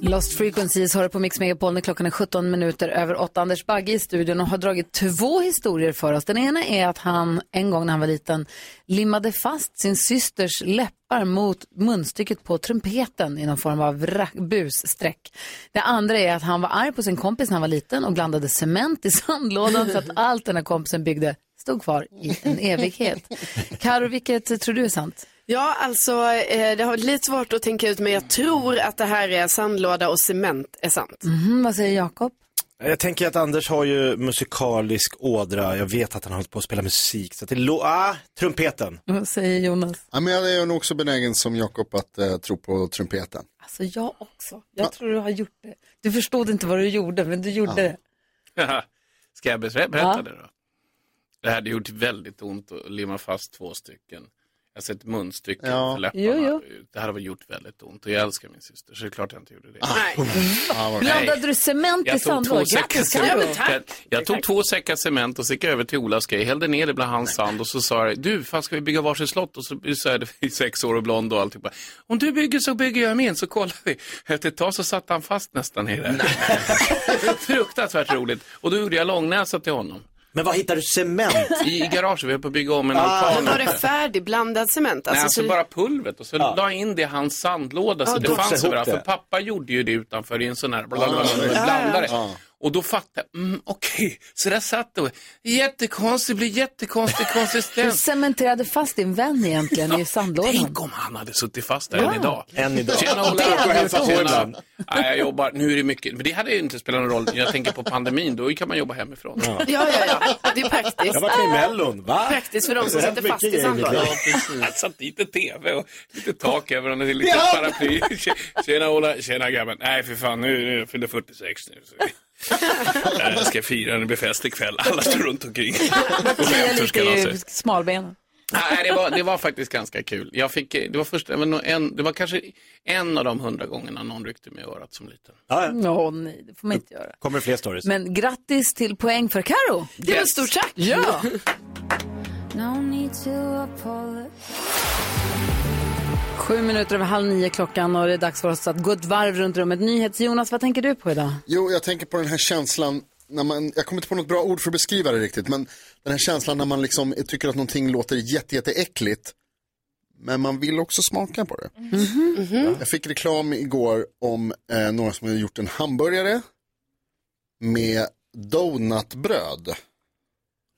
Speaker 5: Lost Frequencies har du på Mix Megapol när klockan är 17 minuter över 8. Anders Bagge i studion och har dragit två historier för oss. Den ena är att han en gång när han var liten limmade fast sin systers läppar mot munstycket på trumpeten i någon form av ra- bussträck. Det andra är att han var arg på sin kompis när han var liten och blandade cement i sandlådan så att allt den här kompisen byggde stod kvar i en evighet. Karo, vilket tror du är sant?
Speaker 9: Ja, alltså eh, det har varit lite svårt att tänka ut men jag tror att det här är sandlåda och cement är sant.
Speaker 12: Mm.
Speaker 5: Mhm, vad säger Jakob?
Speaker 8: Jag tänker att Anders har ju musikalisk ådra. Jag vet att han har hållit på att spela musik. Så att det lo- ah, trumpeten.
Speaker 5: Vad säger Jonas?
Speaker 7: Ja, men jag är nog också benägen som Jakob att eh, tro på trumpeten.
Speaker 5: Alltså jag också. Jag tror du har gjort det. Du förstod inte vad du gjorde, men du gjorde det.
Speaker 12: Ska jag besvä- berätta
Speaker 5: Ja.
Speaker 12: det då? Det hade gjort väldigt ont att limma fast två stycken. Alltså ett munstycke
Speaker 7: Ja.
Speaker 12: för läpparna.
Speaker 5: Jo,
Speaker 12: Det hade väl gjort väldigt ont och jag älskar min syster så det är klart jag inte gjorde det.
Speaker 7: Nej.
Speaker 5: Blandade du cement i
Speaker 12: Jag tog, två
Speaker 5: sandlådan?
Speaker 12: säckar
Speaker 5: Grattis, Carro.
Speaker 12: cement. Jag, jag tog två säckar cement och så gick jag över till Olas grej, hällde ner det bland hans sand och så sa jag, du, fan ska vi bygga varsitt slott? Och så sa jag, det i sex år och blond och alltihopa. Om du bygger så bygger jag min, så kollar vi. Efter ett tag så satt han fast nästan i det. Fruktansvärt roligt. Och då gjorde jag långnäsa till honom.
Speaker 8: Men var hittade du cement?
Speaker 12: I, i garaget, vi höll på att bygga om en
Speaker 9: Ah,
Speaker 12: altan.
Speaker 9: var det färdigblandad cement?
Speaker 12: Nej, alltså
Speaker 9: så det-
Speaker 12: bara pulvret och så la jag in det i hans sandlåda så
Speaker 9: Ja,
Speaker 12: det
Speaker 9: då-
Speaker 12: fanns
Speaker 9: Ihop
Speaker 12: överallt.
Speaker 9: det.
Speaker 12: För pappa gjorde ju det utanför i en sån här
Speaker 1: ja, ja.
Speaker 12: blandare.
Speaker 1: Ja.
Speaker 12: Och då fattade jag, mm, okej, så där satt det. Jättekonstigt, det blir jättekonstig
Speaker 5: Du
Speaker 12: konsistens.
Speaker 5: cementerade fast din vän egentligen i sandlådan.
Speaker 12: Tänk om han hade suttit fast där än
Speaker 5: Ja.
Speaker 12: idag.
Speaker 5: Än idag.
Speaker 12: Tjena
Speaker 5: Det
Speaker 12: Ola.
Speaker 5: hade
Speaker 12: Tjena.
Speaker 5: gjort ont.
Speaker 12: Tjena. Nej, jag jobbar, nu är det mycket, men det hade ju inte spelat någon roll. Jag tänker på pandemin, då kan man jobba hemifrån.
Speaker 9: Ja, ja, ja. Det är praktiskt.
Speaker 12: Jag var till i Mellon, va?
Speaker 9: Praktiskt för de som
Speaker 12: Det är
Speaker 9: sitter
Speaker 12: rätt
Speaker 9: fast i
Speaker 12: mycket grejer i mitt
Speaker 9: sandlådan.
Speaker 12: liv. Jag satt dit en tv och lite tak över den, lite
Speaker 9: Ja.
Speaker 12: paraply. Tjena Ola, tjena grabben. Nej, för fan, nu, nu jag fyller 46 nu. Så vi... Jag ska fira, det blir fest ikväll. Alla står runt omkring. Och
Speaker 5: Kliar
Speaker 12: väntar ska de
Speaker 5: lite
Speaker 12: sig.
Speaker 5: i smalbenen.
Speaker 12: Nej, det var, det var faktiskt ganska kul. Jag fick, eh, det, var först, det var nog en, det var kanske en av de hundra gångerna någon ryckte mig i örat som liten.
Speaker 5: Åh nej, det får man inte göra.
Speaker 8: Kommer fler stories?
Speaker 5: Men grattis till poäng för Karo.
Speaker 9: Det var ett stort tack.
Speaker 5: Ja. Sju minuter över halv nio klockan och det är dags för oss att gå ett varv runt rummet. NyhetsJonas, vad tänker du på idag?
Speaker 7: Jo, jag tänker på den här känslan när man, jag kommer inte på något bra ord för att beskriva det riktigt, men den här känslan när man liksom tycker att någonting låter jätte, jätteäckligt, men man vill också smaka på det. Jag fick reklam igår om eh, några som hade gjort en hamburgare med donutbröd.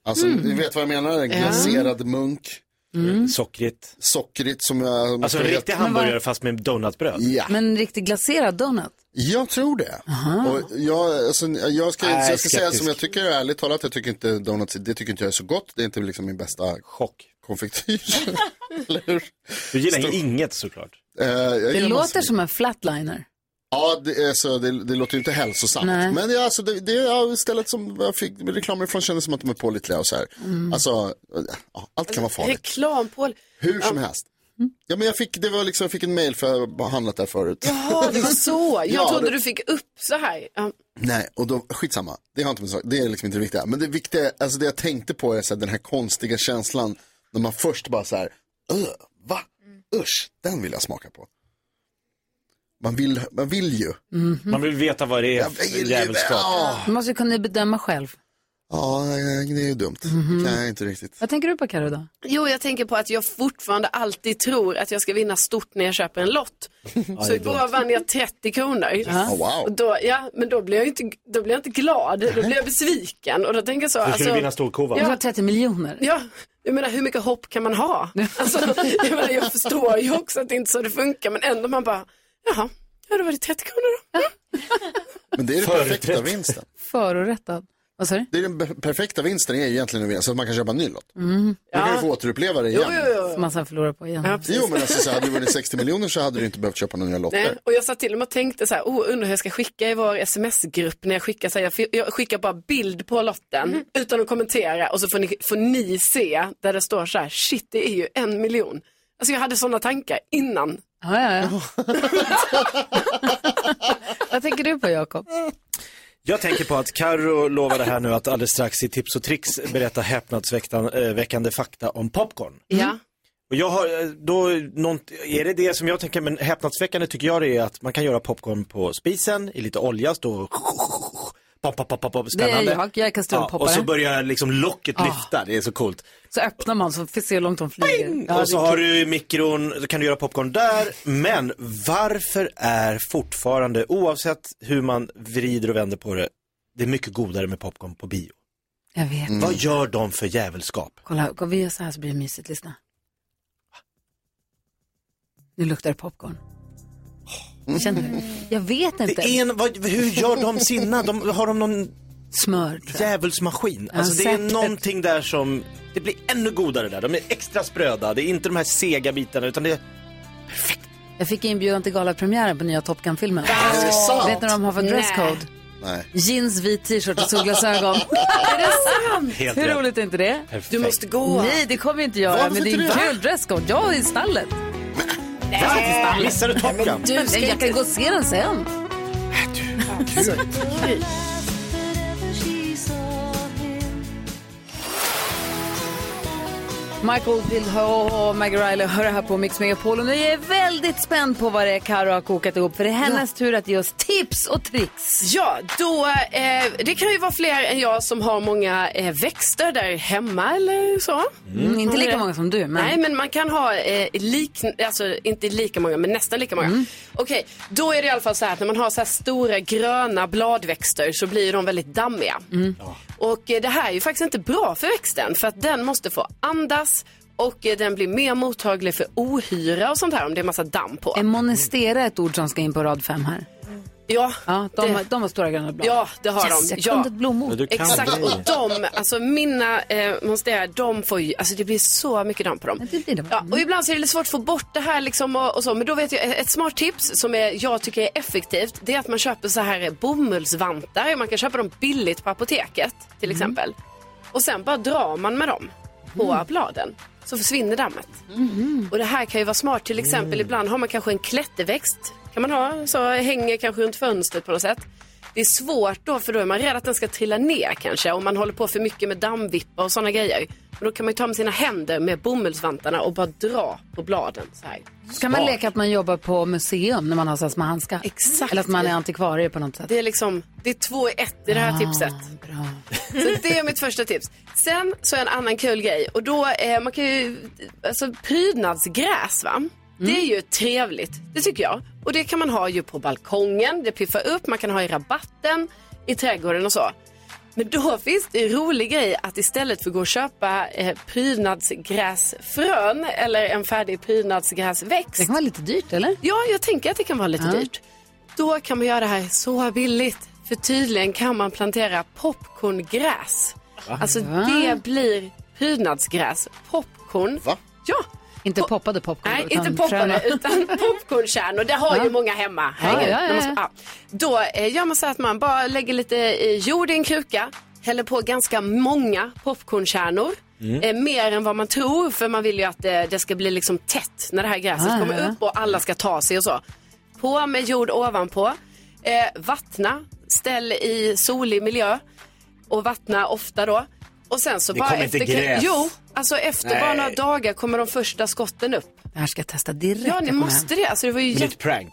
Speaker 7: Alltså,
Speaker 1: Mm.
Speaker 7: ni vet vad jag menar? En
Speaker 1: Ja.
Speaker 7: glaserad munk.
Speaker 9: Mm.
Speaker 8: Sockrigt.
Speaker 7: Sockrigt som jag...
Speaker 8: Alltså en riktig hamburgare fast med donutbröd?
Speaker 7: Ja.
Speaker 5: Men en riktigt glaserad donut?
Speaker 7: Jag tror det. Och jag, alltså, jag ska,
Speaker 8: Nej,
Speaker 7: jag ska säga
Speaker 8: skeptisk.
Speaker 7: som jag tycker, ärligt talat, jag tycker inte donuts, det tycker inte jag är så gott. Det är inte liksom min bästa
Speaker 8: Chock.
Speaker 7: konfektyr. Eller hur?
Speaker 8: Du gillar ju inget såklart.
Speaker 7: Eh, jag
Speaker 5: Det
Speaker 7: gillar
Speaker 5: låter
Speaker 7: massor.
Speaker 5: som en flatliner.
Speaker 7: Ja, det, är så, det, det låter ju inte hälsosamt.
Speaker 5: Nej.
Speaker 7: Men det, är alltså, det, det ja, stället som jag fick reklamen från kändes som att de är pålitliga och så här.
Speaker 9: Mm.
Speaker 7: Alltså, ja, allt kan vara farligt.
Speaker 9: Reklampål.
Speaker 7: Hur som helst. Ja, men jag fick, det var liksom, jag fick en mail för jag har handlat där förut.
Speaker 9: Jaha, det var så. Jag
Speaker 7: Ja,
Speaker 9: trodde
Speaker 7: det-
Speaker 9: du fick upp så här. Ja.
Speaker 7: Nej, och då, skitsamma. Det har inte med sak- det är liksom inte det viktiga. Men det viktiga, alltså det jag tänkte på är så här, den här konstiga känslan när man först bara så här, "Öh, va? Usch, den vill jag smaka på. Man vill, man vill ju.
Speaker 9: Mm.
Speaker 8: Man vill veta vad det är för jävelskap.
Speaker 5: Du måste ju kunna bedöma själv.
Speaker 7: Ah. Ja, nej, det är ju dumt. Det kan jag inte riktigt.
Speaker 5: Vad tänker du på Karo då?
Speaker 9: Jo, jag tänker på att jag fortfarande alltid tror att jag ska vinna stort när jag köper en lott. Så
Speaker 1: är
Speaker 9: igår
Speaker 1: dumt.
Speaker 9: vann jag 30 kronor.
Speaker 7: Ah,
Speaker 1: Ja. Oh, wow.
Speaker 9: Och då, ja, men då blir, jag inte, då blir jag inte glad, då blir jag besviken. Och då tänker jag så.
Speaker 8: Du skulle
Speaker 9: alltså-
Speaker 8: vinna storkovan.
Speaker 5: Du har
Speaker 9: Ja,
Speaker 5: 30 miljoner.
Speaker 9: ja, jag menar hur mycket hopp kan man ha? Alltså, jag, menar, jag förstår ju också att det inte är så det funkar, men ändå man bara, jaha, ja, då var det 30 kronor då.
Speaker 7: Men det är den perfekta vinsten.
Speaker 5: Förorättad. Vad sa du?
Speaker 7: Det är den be- perfekta vinsten är ju egentligen en vinst, så att man kan köpa en ny lott.
Speaker 5: Mm.
Speaker 7: Då kan du få återuppleva det igen.
Speaker 5: Som man sen förlorar på igen.
Speaker 7: Jo, men alltså, så hade du vunnit 60 miljoner så hade du inte behövt köpa några nya
Speaker 9: Nej,
Speaker 7: lotter.
Speaker 9: och jag satt till och med och tänkte så här, oh, undrar hur jag ska skicka i vår sms-grupp när jag skickar, så här, jag fi- jag skickar bara bild på lotten utan att kommentera och så får ni, får ni se där det står så här, shit det är ju en miljon. Alltså jag hade sådana tankar innan.
Speaker 5: Ja, ja, ja. Vad tänker du på Jakob?
Speaker 8: Jag tänker på att Carro lovade här nu att alldeles strax i Tips och Tricks berätta häpnadsväckande fakta om popcorn.
Speaker 9: Ja.
Speaker 8: Och jag har, eh, då, nånt, är det det som jag tänker, men häpnadsväckande tycker jag det är att man kan göra popcorn på spisen i lite olja, stå pop, pop, pop, pop, pop,
Speaker 5: Det är
Speaker 8: spännande.
Speaker 5: jag, jag är
Speaker 8: och så
Speaker 5: kastrulpoppare.
Speaker 8: börjar liksom locket lyfta, det är så coolt.
Speaker 5: så öppnar man så får se hur långt de flyger. Mm. Ja,
Speaker 8: och så
Speaker 5: det är
Speaker 8: har
Speaker 5: kul.
Speaker 8: du i mikron, så kan du göra popcorn där. Men varför är fortfarande, oavsett hur man vrider och vänder på det, det är mycket godare med popcorn på bio.
Speaker 5: Jag vet.
Speaker 8: Vad gör de för jävelskap?
Speaker 5: Kolla, går vi gör så här så blir det mysigt. Lyssna. Nu luktar det popcorn. Känner du? Jag vet inte.
Speaker 8: Mm. Det är en, vad, hur gör de sina? De, har de någon
Speaker 5: Smör,
Speaker 8: djävulsmaskin?
Speaker 5: Ja,
Speaker 8: Alltså, det är
Speaker 5: säkert.
Speaker 8: någonting där som, det blir ännu godare där. De är extra spröda, det är inte de här sega bitarna utan det är
Speaker 5: Jag fick inbjudan till galapremiären på nya Top Gun-filmen.
Speaker 8: Är det sant?
Speaker 5: Vet ni vad de har för dresscode?
Speaker 7: Nej.
Speaker 5: Jeans, vit t-shirt och solglasögon. är det sant?
Speaker 16: Helt
Speaker 5: Hur
Speaker 16: rätt.
Speaker 5: roligt är inte det?
Speaker 16: Perfekt. Du måste gå.
Speaker 5: Nej, det kommer jag inte göra.
Speaker 16: Varför
Speaker 5: men det är
Speaker 16: inte
Speaker 5: en
Speaker 16: det?
Speaker 5: kul dresscode. Jag är i stallet.
Speaker 8: Nej. Missar du Top Gun?
Speaker 5: Du, ska jag kan gå och se den sen. Michael Oldfield och Maggie Riley hör här på Mix Megapol. Och nu är jag väldigt spänd på vad det är Karo har kokat ihop. För det är hennes tur att ge oss tips och tricks.
Speaker 9: Ja, då, eh, det kan ju vara fler än jag som har många eh, växter där hemma eller så.
Speaker 5: Mm, inte lika många som du, men-
Speaker 9: Nej, men man kan ha eh, lik, alltså inte lika många, men nästan lika många.
Speaker 5: Mm.
Speaker 9: Okej, då är det i alla fall så här att när man har så här stora gröna bladväxter så blir de väldigt dammiga.
Speaker 5: Mm.
Speaker 9: Och eh, det här är ju faktiskt inte bra för växten för att den måste få andas och eh, den blir mer mottaglig för ohyra och sånt här om det är massa damm på.
Speaker 5: Är monestera ett ord som ska in på rad fem här?
Speaker 9: Ja,
Speaker 5: Ja, de,
Speaker 9: det-
Speaker 5: har, de har stora gröna blad.
Speaker 9: Ja, det har
Speaker 5: yes,
Speaker 9: de.
Speaker 5: Jag
Speaker 9: ja.
Speaker 5: kunde ett blommor.
Speaker 9: Exakt, och de, alltså mina eh, monstera, de får ju, alltså det blir så mycket damm på dem. Ja, och ibland så är det lite svårt att få bort det här liksom och, och så, men då vet jag, ett smart tips som är, jag tycker är effektivt, det är att man köper så här bomullsvantar, man kan köpa dem billigt på apoteket till exempel. Och sen bara drar man med dem på bladen, så försvinner dammet. Och det här kan ju vara smart, till exempel ibland har man kanske en klätterväxt, kan man ha, så hänger kanske runt fönstret på något sätt. Det är svårt då för då är man rädd att den ska trilla ner kanske om man håller på för mycket med dammvippar och sådana grejer. Men då kan man ju ta med sina händer med bomullsvantarna och bara dra på bladen så här.
Speaker 5: Kan man leka att man jobbar på museum när man har så här små handskar?
Speaker 9: Exakt.
Speaker 5: Eller att man är antikvarie på något sätt?
Speaker 9: Det är liksom, det är två i ett i det här
Speaker 5: Ah,
Speaker 9: tipset. Så det är mitt första tips. Sen så är en annan kul grej och då, eh, man kan ju, alltså prydnadsgräs va? Det är ju trevligt, det tycker jag. Och det kan man ha ju på balkongen, det piffar upp, man kan ha i rabatten, i trädgården och så. Men då finns det en rolig grej att istället för att gå och köpa eh, prydnadsgräsfrön eller en färdig prydnadsgräsväxt. Det kan
Speaker 5: vara lite dyrt eller?
Speaker 9: Ja, jag tänker att det kan vara lite
Speaker 5: Ja.
Speaker 9: dyrt. Då kan man göra det här så billigt. För tydligen kan man plantera popcorngräs.
Speaker 5: Va?
Speaker 9: Alltså
Speaker 5: Va?
Speaker 9: det blir prydnadsgräs. Popcorn.
Speaker 7: Va?
Speaker 9: Ja.
Speaker 5: Inte poppade popcorn.
Speaker 9: Nej,
Speaker 5: utan
Speaker 9: inte poppade
Speaker 5: fröna.
Speaker 9: utan popcornkärnor. Det har
Speaker 5: Ja.
Speaker 9: ju många hemma. Herregud.
Speaker 5: Ja, ja, ja,
Speaker 9: Man måste- ja. Då eh, gör man så att man bara lägger lite eh, jord i en kruka. Häller på ganska många popcornkärnor.
Speaker 1: Mm.
Speaker 9: Eh, mer än vad man tror för man vill ju att eh, det ska bli liksom tätt när det här gräset
Speaker 1: Ah,
Speaker 9: kommer
Speaker 1: ja, ja.
Speaker 9: upp och alla ska ta sig och så. På med jord ovanpå. Eh, vattna. Ställ i solig miljö. Och vattna ofta då. Och sen så
Speaker 5: Det
Speaker 9: bara
Speaker 5: kommer inte
Speaker 9: efter...
Speaker 5: gräs.
Speaker 9: Jo, alltså efter bara
Speaker 5: Nej.
Speaker 9: några dagar kommer de första skotten upp.
Speaker 5: Det här ska jag testa direkt.
Speaker 9: Ja, ni
Speaker 5: jag kommer
Speaker 9: måste
Speaker 5: hem.
Speaker 9: det. Alltså, det var ju jätte...
Speaker 8: prank.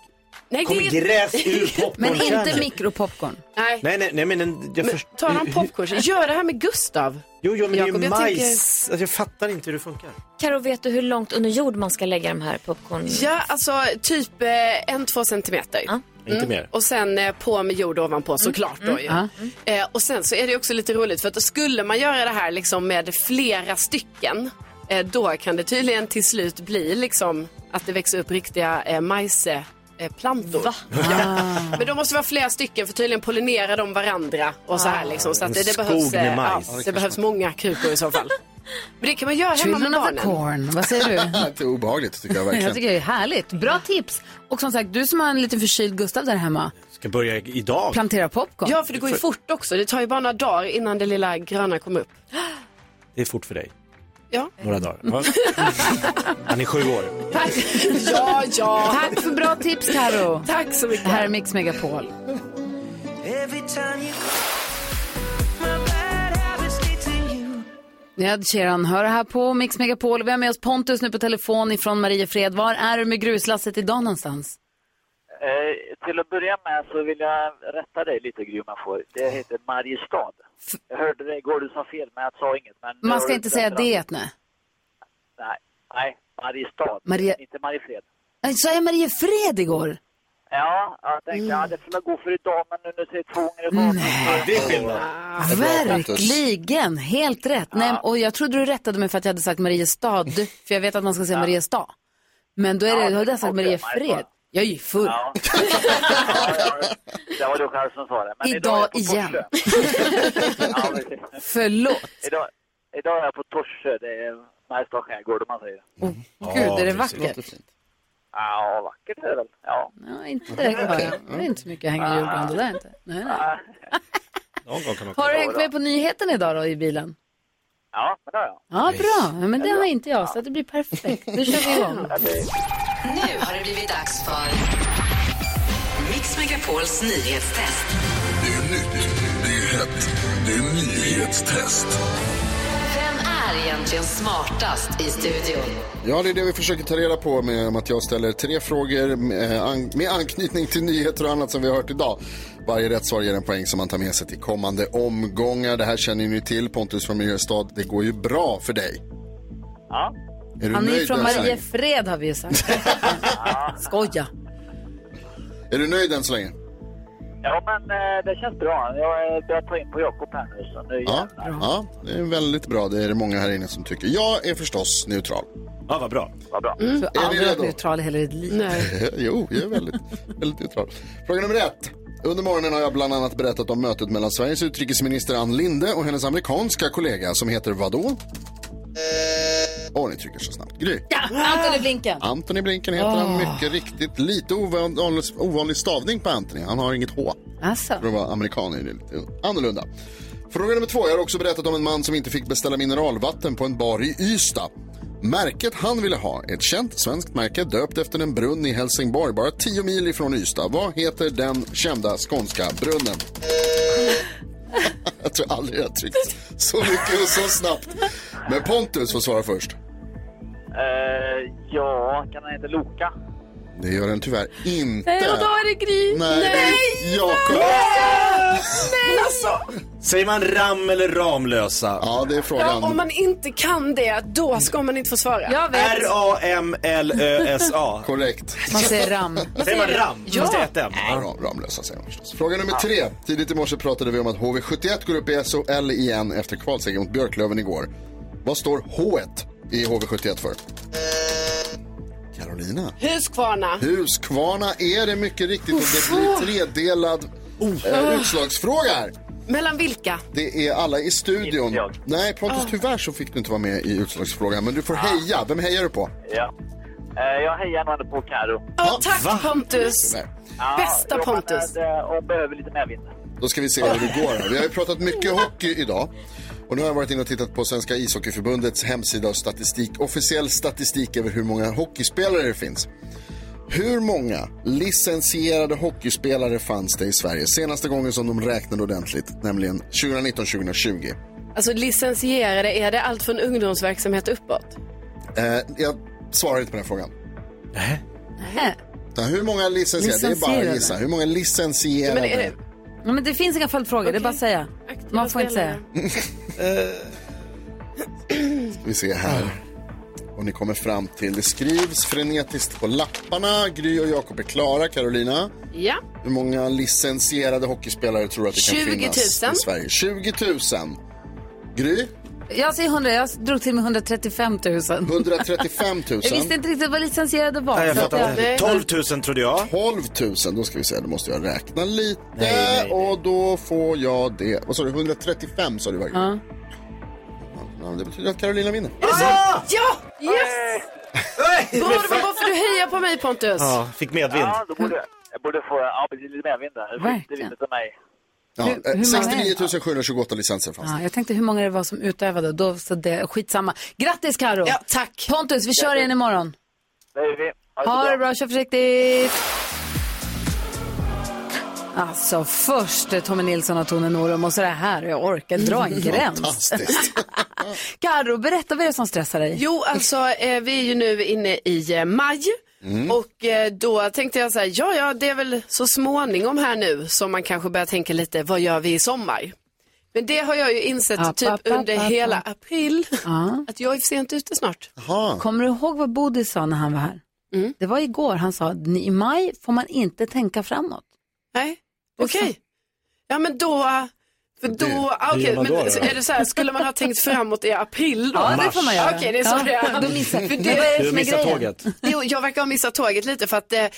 Speaker 9: Nej,
Speaker 8: Kommer
Speaker 9: det är-
Speaker 8: gräs ur popcorn?
Speaker 5: Men inte
Speaker 8: Kärnor.
Speaker 5: mikropopcorn.
Speaker 9: Nej.
Speaker 8: Nej, nej, nej men en- jag förstår.
Speaker 9: Ta någon popcorn. Gör det här med Gustav.
Speaker 8: Jo, jo, men
Speaker 9: Jakob,
Speaker 8: det är ju
Speaker 9: jag
Speaker 8: majs.
Speaker 9: tänker-
Speaker 8: Alltså, jag fattar inte hur det funkar.
Speaker 6: Karo, vet du hur långt under jord man ska lägga de här popcorn...
Speaker 9: Ja, alltså typ eh, en, två centimeter.
Speaker 6: Inte mer.
Speaker 9: Och sen eh, på med jord ovanpå såklart
Speaker 6: Mm.
Speaker 9: då ju.
Speaker 6: Ja.
Speaker 9: Eh, och sen så är det också lite roligt för att skulle man göra det här liksom med flera stycken eh, då kan det tydligen till slut bli liksom att det växer upp riktiga eh, majse eh, plantor.
Speaker 5: Ah.
Speaker 9: Men de måste vara flera stycken för tydligen pollinerar de varandra och så här liksom. Så att
Speaker 5: Ah.
Speaker 9: det,
Speaker 5: En
Speaker 9: det
Speaker 5: skog
Speaker 9: behövs, eh,
Speaker 5: med majs.
Speaker 9: ja, det behövs många krukor i så fall. Men det kan man göra hemma med
Speaker 5: Children of the
Speaker 9: barnen.
Speaker 5: corn, vad säger du?
Speaker 7: det är obehagligt tycker jag
Speaker 5: Jag
Speaker 7: verkligen.
Speaker 5: tycker det är härligt. Bra tips. Och som sagt, du som har en liten förkyld Gustav där hemma,
Speaker 8: Ska börja idag.
Speaker 5: plantera popcorn.
Speaker 9: Ja, för det går ju fort också. Det tar ju bara några dagar innan det lilla gröna kommer upp.
Speaker 8: Det är fort för dig.
Speaker 9: Ja.
Speaker 8: Några dagar. va? Han är sju år.
Speaker 5: Tack.
Speaker 9: ja, ja.
Speaker 5: Tack för bra tips, Karo.
Speaker 9: Tack så mycket.
Speaker 5: Det här är Mix Megapol. Ned Sheeran hör här på Mix Megapol. Vi har med oss Pontus nu på telefon ifrån Mariefred. Var är du med gruslasset idag någonstans?
Speaker 17: Eh, till att börja med så vill jag rätta dig lite Gry om jag får. Det heter Mariestad. Jag hörde dig igår, du sa fel men jag sa inget. Men
Speaker 5: Man ska inte säga det, nej.
Speaker 17: Nej, nej Mariestad.
Speaker 5: Maria-
Speaker 17: Inte Mariefred.
Speaker 5: Nej, Sa jag Mariefred igår?
Speaker 17: Ja, jag
Speaker 5: Mm.
Speaker 17: tänkte ja, det får jag gå för idag men nu när du säger två gånger idag. Nej,
Speaker 8: det är skillnad.
Speaker 5: Verkligen, helt rätt. Nej, och jag trodde du rättade mig för att jag hade sagt Mariestad, för jag vet att man ska säga Mariestad. Men då är det, har jag sagt Mariefred. Jag är ju full.
Speaker 17: Det var du själv som sa det. Men
Speaker 5: Idag
Speaker 17: är jag på
Speaker 5: igen.
Speaker 17: Torsö. ja, precis.
Speaker 5: Förlåt.
Speaker 17: Idag, idag är jag på Torsö, det är Mariestad skärgård om man säger.
Speaker 5: Gud, är det vackert?
Speaker 17: Ja, vackert är det väl. Ja.
Speaker 5: Nej, inte direkt bara. Det är Ah, inte så mycket att hänga i julgran, det där inte. Nej, nej.
Speaker 8: Någon gång kan man
Speaker 5: Har du hängt med på nyheten idag då i bilen?
Speaker 17: Ja, men det har jag.
Speaker 5: Ja, bra. Ja, Men det har inte jag, så att det blir perfekt. Nu kör vi igång.
Speaker 11: Nu har det blivit dags för Mix Megapols nyhetstest.
Speaker 18: Det är nytt, det är hett, det är nyhetstest.
Speaker 11: Vem är egentligen smartast i studion?
Speaker 7: Ja, det är det vi försöker ta reda på med att jag ställer tre frågor med, eh, an- med anknytning till nyheter och annat som vi har hört idag. Varje rätt svar ger en poäng som man tar med sig till kommande omgångar. Det här känner ni till, Pontus från Miljöstad. Det går ju bra för dig.
Speaker 17: Ja.
Speaker 7: Är du
Speaker 5: Han är ju
Speaker 7: nöjd
Speaker 5: från
Speaker 7: än så länge?
Speaker 5: Mariefred har vi ju sagt. Skoja.
Speaker 7: Är du nöjd än så länge?
Speaker 17: Ja, men eh, det känns bra. Jag eh, börjar ta in på Jakob här nu, så nu
Speaker 7: Ja, ja, det är väldigt bra. Det är det många här inne som tycker. Jag är förstås neutral.
Speaker 8: Ja, vad bra.
Speaker 17: Vad bra.
Speaker 5: Du har
Speaker 7: Är ni
Speaker 5: aldrig varit
Speaker 7: redo?
Speaker 5: neutral i hela ditt liv.
Speaker 7: jo, jag är väldigt, väldigt neutral. Fråga nummer ett. Under morgonen har jag bland annat berättat om mötet mellan Sveriges utrikesminister Ann Linde och hennes amerikanska kollega som heter vadå? Åh, ni trycker så snabbt. Gry.
Speaker 5: Ja, Antoni Blinken.
Speaker 7: Anthony Blinken heter han
Speaker 5: Åh.
Speaker 7: mycket riktigt. Lite ovanlig, ovanlig stavning på Anthony. Han har inget H.
Speaker 5: Alltså.
Speaker 7: För att vara amerikan är det lite annorlunda. Fråga nummer två. Jag har också berättat om en man som inte fick beställa mineralvatten på en bar i Ystad. Märket han ville ha, ett känt svenskt märke döpt efter en brunn i Helsingborg, bara 10 mil ifrån Ystad. Vad heter den kända skånska brunnen? jag tror aldrig jag tryckt så mycket och så snabbt. Men Pontus får svara först.
Speaker 17: Eh, ja, kan han inte Loka?
Speaker 7: Det gör den tyvärr inte.
Speaker 17: Nej, och då
Speaker 5: är det Gry.
Speaker 7: Nej,
Speaker 17: Nej.
Speaker 7: Jakob.
Speaker 9: Men alltså,
Speaker 8: Säger man ram eller Ramlösa?
Speaker 7: Ja, det är
Speaker 9: ja, om man inte kan det, då ska man inte få svara. Jag
Speaker 8: R-A-M-L-Ö-S-A.
Speaker 7: Korrekt.
Speaker 5: Man säger ram.
Speaker 8: Säger man ram?
Speaker 5: Ja.
Speaker 8: Fast det är ett M.
Speaker 7: Ja, Ram, Ramlösa säger man förstås. Fråga nummer tre. Tidigt i morse pratade vi om att HV71 går upp i SHL igen efter kvalseger mot Björklöven igår. Vad står H1 i HV71 för? Carolina.
Speaker 9: Huskvarna.
Speaker 7: Huskvarna är det mycket riktigt och det blir tredelad eh, utslagsfråga här.
Speaker 9: Mellan vilka?
Speaker 7: Det är alla i studion. Nej, Pontus, tyvärr så fick du inte vara med i utslagsfrågan, men du får heja. Vem hejar du på?
Speaker 17: Ja. Eh, jag hejar nog ändå på Karo.
Speaker 9: Ja, tack Pontus. Bästa
Speaker 17: jo, men,
Speaker 9: Pontus.
Speaker 17: eh, Och behöver lite medvind.
Speaker 7: Då ska vi se hur det går. här. Vi har ju pratat mycket hockey idag. Och nu har jag varit inne och tittat på Svenska ishockeyförbundets hemsida och statistik. Officiell statistik över hur många hockeyspelare det finns. Hur många licensierade hockeyspelare fanns det i Sverige senaste gången som de räknade ordentligt, nämligen 2019-2020?
Speaker 9: Alltså licensierade, är det allt från ungdomsverksamhet uppåt?
Speaker 7: Eh, jag svarar inte på den frågan.
Speaker 5: Nej.
Speaker 7: Utan Hur många licensierade? Det är bara att gissa. Hur många
Speaker 5: Ja,
Speaker 7: licensierade?
Speaker 5: men, är det... Ja, men det finns inga följdfrågor, det är bara att säga. Man får inte säga.
Speaker 7: vi se här. Och ni kommer fram till, det skrivs frenetiskt på lapparna. Gry och Jakob är klara. Carolina,
Speaker 9: Ja.
Speaker 7: hur många licensierade hockeyspelare tror du att det kan
Speaker 9: 20 000.
Speaker 7: finnas i Sverige? 20 000. Gry?
Speaker 5: Jag säger 100, jag drog till med 135 000.
Speaker 7: 135 000.
Speaker 5: Jag visste inte riktigt vad licensierade var.
Speaker 7: Nej, jag
Speaker 5: så att
Speaker 7: fattar inte.
Speaker 5: jag-
Speaker 7: 12
Speaker 8: 000 trodde jag.
Speaker 7: 12 000, då ska vi se, då måste jag räkna lite och då får jag det. Vad sa du, 135 sa du verkligen?
Speaker 5: Ja.
Speaker 7: Ja, det betyder att Carolina vinner.
Speaker 9: Ja! ja! Yes! Bra, det var bara för att du hejar på mig Pontus.
Speaker 8: Ja, fick medvind.
Speaker 17: Ja, då borde, jag borde få ja, precis, lite medvind där. Verkligen. Det lite av mig.
Speaker 7: Ja,
Speaker 5: Hur- hur
Speaker 7: eh,
Speaker 5: många
Speaker 7: 69 728 licenser fanns
Speaker 5: Ja, jag tänkte hur många det var som utövade. Då, så det, skitsamma. Grattis Karo. Ja, tack. Pontus, vi kör igen imorgon.
Speaker 17: Det är vi.
Speaker 5: Ha det bra, kör försiktigt. Alltså först är Tommy Nilsson och Tone Norum och så det här. Jag orkar dra
Speaker 9: Mm.
Speaker 5: en gräns. Karo, berätta vad det är som stressar dig.
Speaker 9: Jo, alltså eh, vi är ju nu inne i eh, maj.
Speaker 5: Mm.
Speaker 9: Och eh, då tänkte jag så här, ja ja det är väl så småningom här nu som man kanske börjar tänka lite, vad gör vi i sommar? Men det har jag ju insett
Speaker 5: App,
Speaker 9: typ
Speaker 5: app, app,
Speaker 9: under
Speaker 5: app, app.
Speaker 9: hela april,
Speaker 5: Ja.
Speaker 9: att jag är sent ute snart.
Speaker 5: Kommer du ihåg vad Bodis sa när han var här?
Speaker 9: Mm.
Speaker 5: Det var igår. Han sa att i maj får man inte tänka framåt.
Speaker 9: Nej, okej. Ja men då, för
Speaker 5: Det-
Speaker 9: då,
Speaker 5: det
Speaker 9: ah, okej,
Speaker 5: gör man
Speaker 9: men
Speaker 5: då, då?
Speaker 9: så är det så här, skulle man ha tänkt framåt i april då?
Speaker 5: Ja, det får man göra.
Speaker 9: Okej, det är så
Speaker 5: Ja,
Speaker 9: det är.
Speaker 5: då missar-
Speaker 9: För
Speaker 5: Men vad är det Du som är missar grejen? tåget.
Speaker 9: Jo, jag verkar ha missat tåget lite för att eh, eh,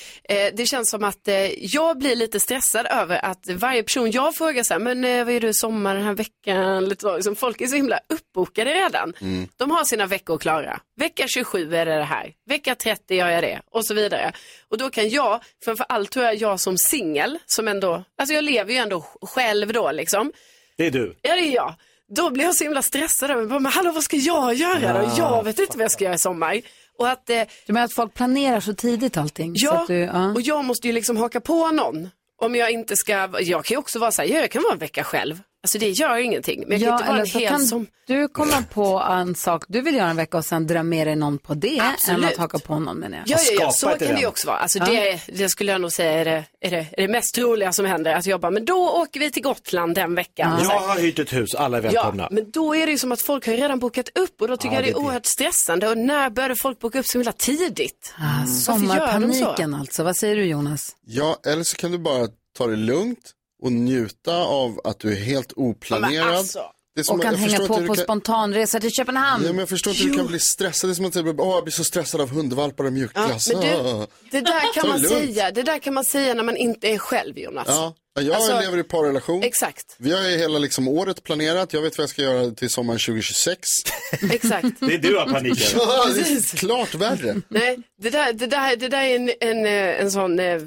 Speaker 9: det känns som att eh, jag blir lite stressad över att varje person jag frågar så här, men eh, vad är du sommar den här veckan? Lite så, liksom, folk är så himla uppbokade redan. De har sina veckor klara. Vecka 27 är det det här. Vecka 30 gör jag det och så vidare. Och då kan jag, framför allt tror jag jag som singel, som ändå, alltså jag lever ju ändå själv då liksom.
Speaker 8: Det är du.
Speaker 9: Ja, det är jag. Då blir jag så himla stressad över, bara, men hallå vad ska jag göra då?
Speaker 5: Ja,
Speaker 9: Jag vet inte vad jag ska göra i sommar. Och att, eh,
Speaker 5: Du menar att folk planerar så tidigt allting? så
Speaker 9: ja,
Speaker 5: att du, ja.
Speaker 9: och jag måste ju liksom haka på någon. Om jag inte ska, jag kan ju också vara så här, ja, jag kan vara en vecka själv. Alltså det gör ingenting. Men jag kan
Speaker 5: Ja,
Speaker 9: inte vara
Speaker 5: eller
Speaker 9: en
Speaker 5: så
Speaker 9: hel
Speaker 5: kan
Speaker 9: som...
Speaker 5: du komma på en sak du vill göra en vecka och sen dra med dig någon på det
Speaker 9: Absolut.
Speaker 5: än att haka på någon menar jag.
Speaker 9: Ja, ja, ja, så kan det ju också vara. Alltså, det, det skulle jag nog säga är det, är, det, är det mest troliga som händer. Att jag bara, men då åker vi till Gotland den veckan. Så
Speaker 8: Jag
Speaker 9: här.
Speaker 8: har hyrt ett hus, alla är välkomna.
Speaker 9: Ja, men då är det ju som att folk har redan bokat upp och då tycker
Speaker 8: Ja,
Speaker 9: jag det är
Speaker 8: det är det.
Speaker 9: oerhört stressande. Och när började folk boka upp så himla tidigt?
Speaker 5: Ah,
Speaker 7: Alltså,
Speaker 5: sommarpaniken alltså, vad säger du Jonas?
Speaker 7: Ja, eller så kan du bara ta det lugnt och njuta av att du är helt oplanerad.
Speaker 5: Ja, men alltså.
Speaker 7: Det är som att-
Speaker 5: Och kan
Speaker 7: jag
Speaker 5: hänga
Speaker 7: förstår
Speaker 5: på
Speaker 7: inte hur
Speaker 5: på
Speaker 7: du kan-
Speaker 5: spontanresa till Köpenhamn.
Speaker 7: Ja, men jag förstår inte hur du kan bli stressad. Det är som att du blir, åh, jag blir så stressad av hundvalpar och mjukglass.
Speaker 9: men du-
Speaker 7: Ah.
Speaker 9: Det där,
Speaker 7: Ta
Speaker 9: kan man
Speaker 7: det lugnt.
Speaker 9: säga, det där kan man säga när man inte är själv Jonas.
Speaker 7: Ja, jag
Speaker 9: Alltså,
Speaker 7: lever i parrelation.
Speaker 9: Exakt.
Speaker 7: Vi har ju hela liksom året planerat. Jag vet vad jag ska göra till sommaren 2026.
Speaker 9: Exakt.
Speaker 8: Det är du har panik över.
Speaker 7: Ja, det är klart värre.
Speaker 9: Nej, det där, det där, det där är en, en, eh, en sån eh,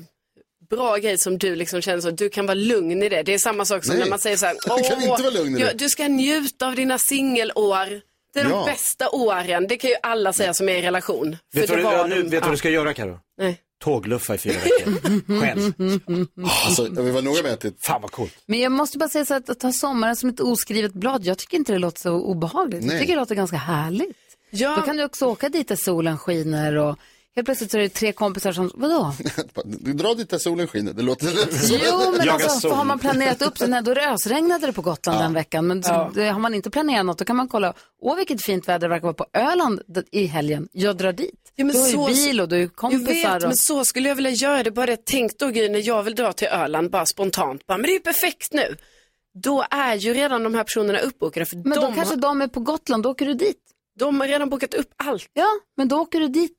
Speaker 9: bra grej som du liksom känner så, du kan vara lugn i det. Det är samma sak som
Speaker 7: Nej.
Speaker 9: när man säger så här,
Speaker 7: Jag kan
Speaker 9: "Åh,
Speaker 7: inte vara lugn i
Speaker 9: ja,
Speaker 7: det."
Speaker 9: Du ska njuta av dina singelår. Det är
Speaker 8: Ja.
Speaker 9: de bästa åren, det kan ju alla säga som är i relation.
Speaker 8: Vet du
Speaker 9: det
Speaker 8: vad
Speaker 9: var
Speaker 8: du,
Speaker 9: de-
Speaker 8: nu, vet du vad du ska göra Karo?
Speaker 9: Nej.
Speaker 8: Tågluffa i fyra veckor. Själv.
Speaker 7: Alltså, vi var noga med att det...
Speaker 8: Fan vad coolt.
Speaker 5: Men jag måste bara säga så att, att ta sommaren som ett oskrivet blad, jag tycker inte det låter så obehagligt.
Speaker 7: Nej.
Speaker 5: Jag tycker det låter ganska härligt.
Speaker 9: Ja.
Speaker 5: Då kan du också åka dit där solen skiner och helt plötsligt så är det tre kompisar som, vadå?
Speaker 7: Dra dit där solen skiner. Det låter lätt som-
Speaker 5: Jo, men alltså, för har man planerat upp det, när då ösregnade det på Gotland den veckan. Men så- det, har man inte planerat något, då kan man kolla, åh vilket fint väder det verkar vara på Öland d- i helgen, jag drar dit.
Speaker 9: Ja, men
Speaker 5: du har
Speaker 9: så-
Speaker 5: ju bil och du är
Speaker 9: Jag
Speaker 5: kompisar.
Speaker 9: vet,
Speaker 5: och...
Speaker 9: men så skulle jag vilja göra det. Bara det tänk då Gry, när jag vill dra till Öland bara spontant. Bara, men det är ju perfekt nu. Då är ju redan de här personerna uppbokade. För
Speaker 5: Men
Speaker 9: de
Speaker 5: då kanske
Speaker 9: har,
Speaker 5: de är på Gotland, då åker du dit.
Speaker 9: De har redan bokat upp allt.
Speaker 5: Ja, men då åker du dit.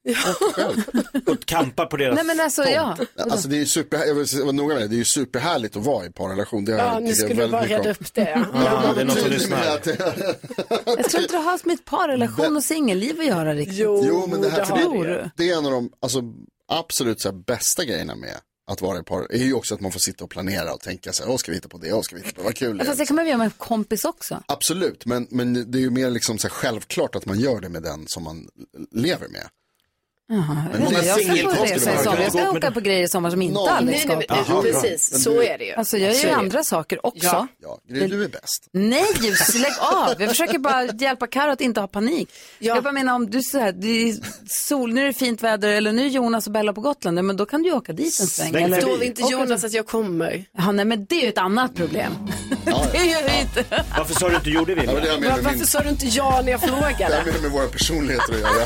Speaker 8: Och kampa på deras
Speaker 5: Nej men alltså, ja.
Speaker 7: Alltså det är ju super, jag vill vara noga med det, det är ju superhärligt att vara i parrelation. Det har
Speaker 5: Ja,
Speaker 7: jag-
Speaker 5: nu
Speaker 7: tycker jag
Speaker 5: skulle
Speaker 7: väldigt
Speaker 5: du bara
Speaker 7: mycket
Speaker 5: reda
Speaker 7: om.
Speaker 5: upp det, ja.
Speaker 8: Ja, det är någon som
Speaker 7: tydlig
Speaker 8: lyssnar.
Speaker 7: med att det-
Speaker 5: Jag tror inte det har med ett parrelation och singelliv att göra riktigt.
Speaker 7: Jo, men det här
Speaker 5: tror
Speaker 7: för det, det är en av de alltså, absolut så här, bästa grejerna med att vara i par, är ju också att man får sitta och planera och tänka så här, åh ska vi hitta på det, åh ska vi hitta på det, vad kul det
Speaker 5: Fast
Speaker 7: är.
Speaker 5: det kan man väl göra med en kompis också?
Speaker 7: Absolut, men, men det är ju mer liksom så här, självklart att man gör det med den som man lever med.
Speaker 5: Jaha,
Speaker 7: Men
Speaker 5: jag vet
Speaker 7: många
Speaker 5: inte, jag ska
Speaker 7: singelfolk
Speaker 5: på
Speaker 7: skulle
Speaker 5: resa i
Speaker 7: vara
Speaker 5: sommar.
Speaker 7: väldigt
Speaker 5: Jag ska
Speaker 7: gott,
Speaker 5: åka på grejer i sommar som inte
Speaker 7: Noll.
Speaker 5: Alex
Speaker 7: Nej,
Speaker 5: ska
Speaker 7: nej,
Speaker 5: åka
Speaker 7: nej,
Speaker 5: på.
Speaker 7: nej, precis, Men du- så är det ju.
Speaker 5: Alltså jag
Speaker 7: Så
Speaker 5: gör ju
Speaker 7: är det.
Speaker 5: andra saker också.
Speaker 7: Ja, Gry, du är bäst.
Speaker 5: Nej, ljus, lägg av. Jag försöker bara hjälpa Karo att inte ha panik. Jag bara menar om du säger det är sol, nu är det fint väder eller nu är Jonas och Bella på Gotland, Nej, men då kan du ju åka dit en sväng.
Speaker 9: Sväng
Speaker 5: eller,
Speaker 9: förbi. Då vill inte
Speaker 5: Åka-
Speaker 9: Jonas att jag kommer.
Speaker 5: Ja, nej, men det är ju ett annat problem.
Speaker 7: det
Speaker 5: är ju inte.
Speaker 8: Varför sa du inte gjorde
Speaker 7: Ja, men det har
Speaker 9: Var,
Speaker 7: med, med,
Speaker 9: varför
Speaker 7: min,
Speaker 9: sa du inte ja när jag
Speaker 7: det har
Speaker 9: frågade?
Speaker 7: med, med våra personligheter att göra.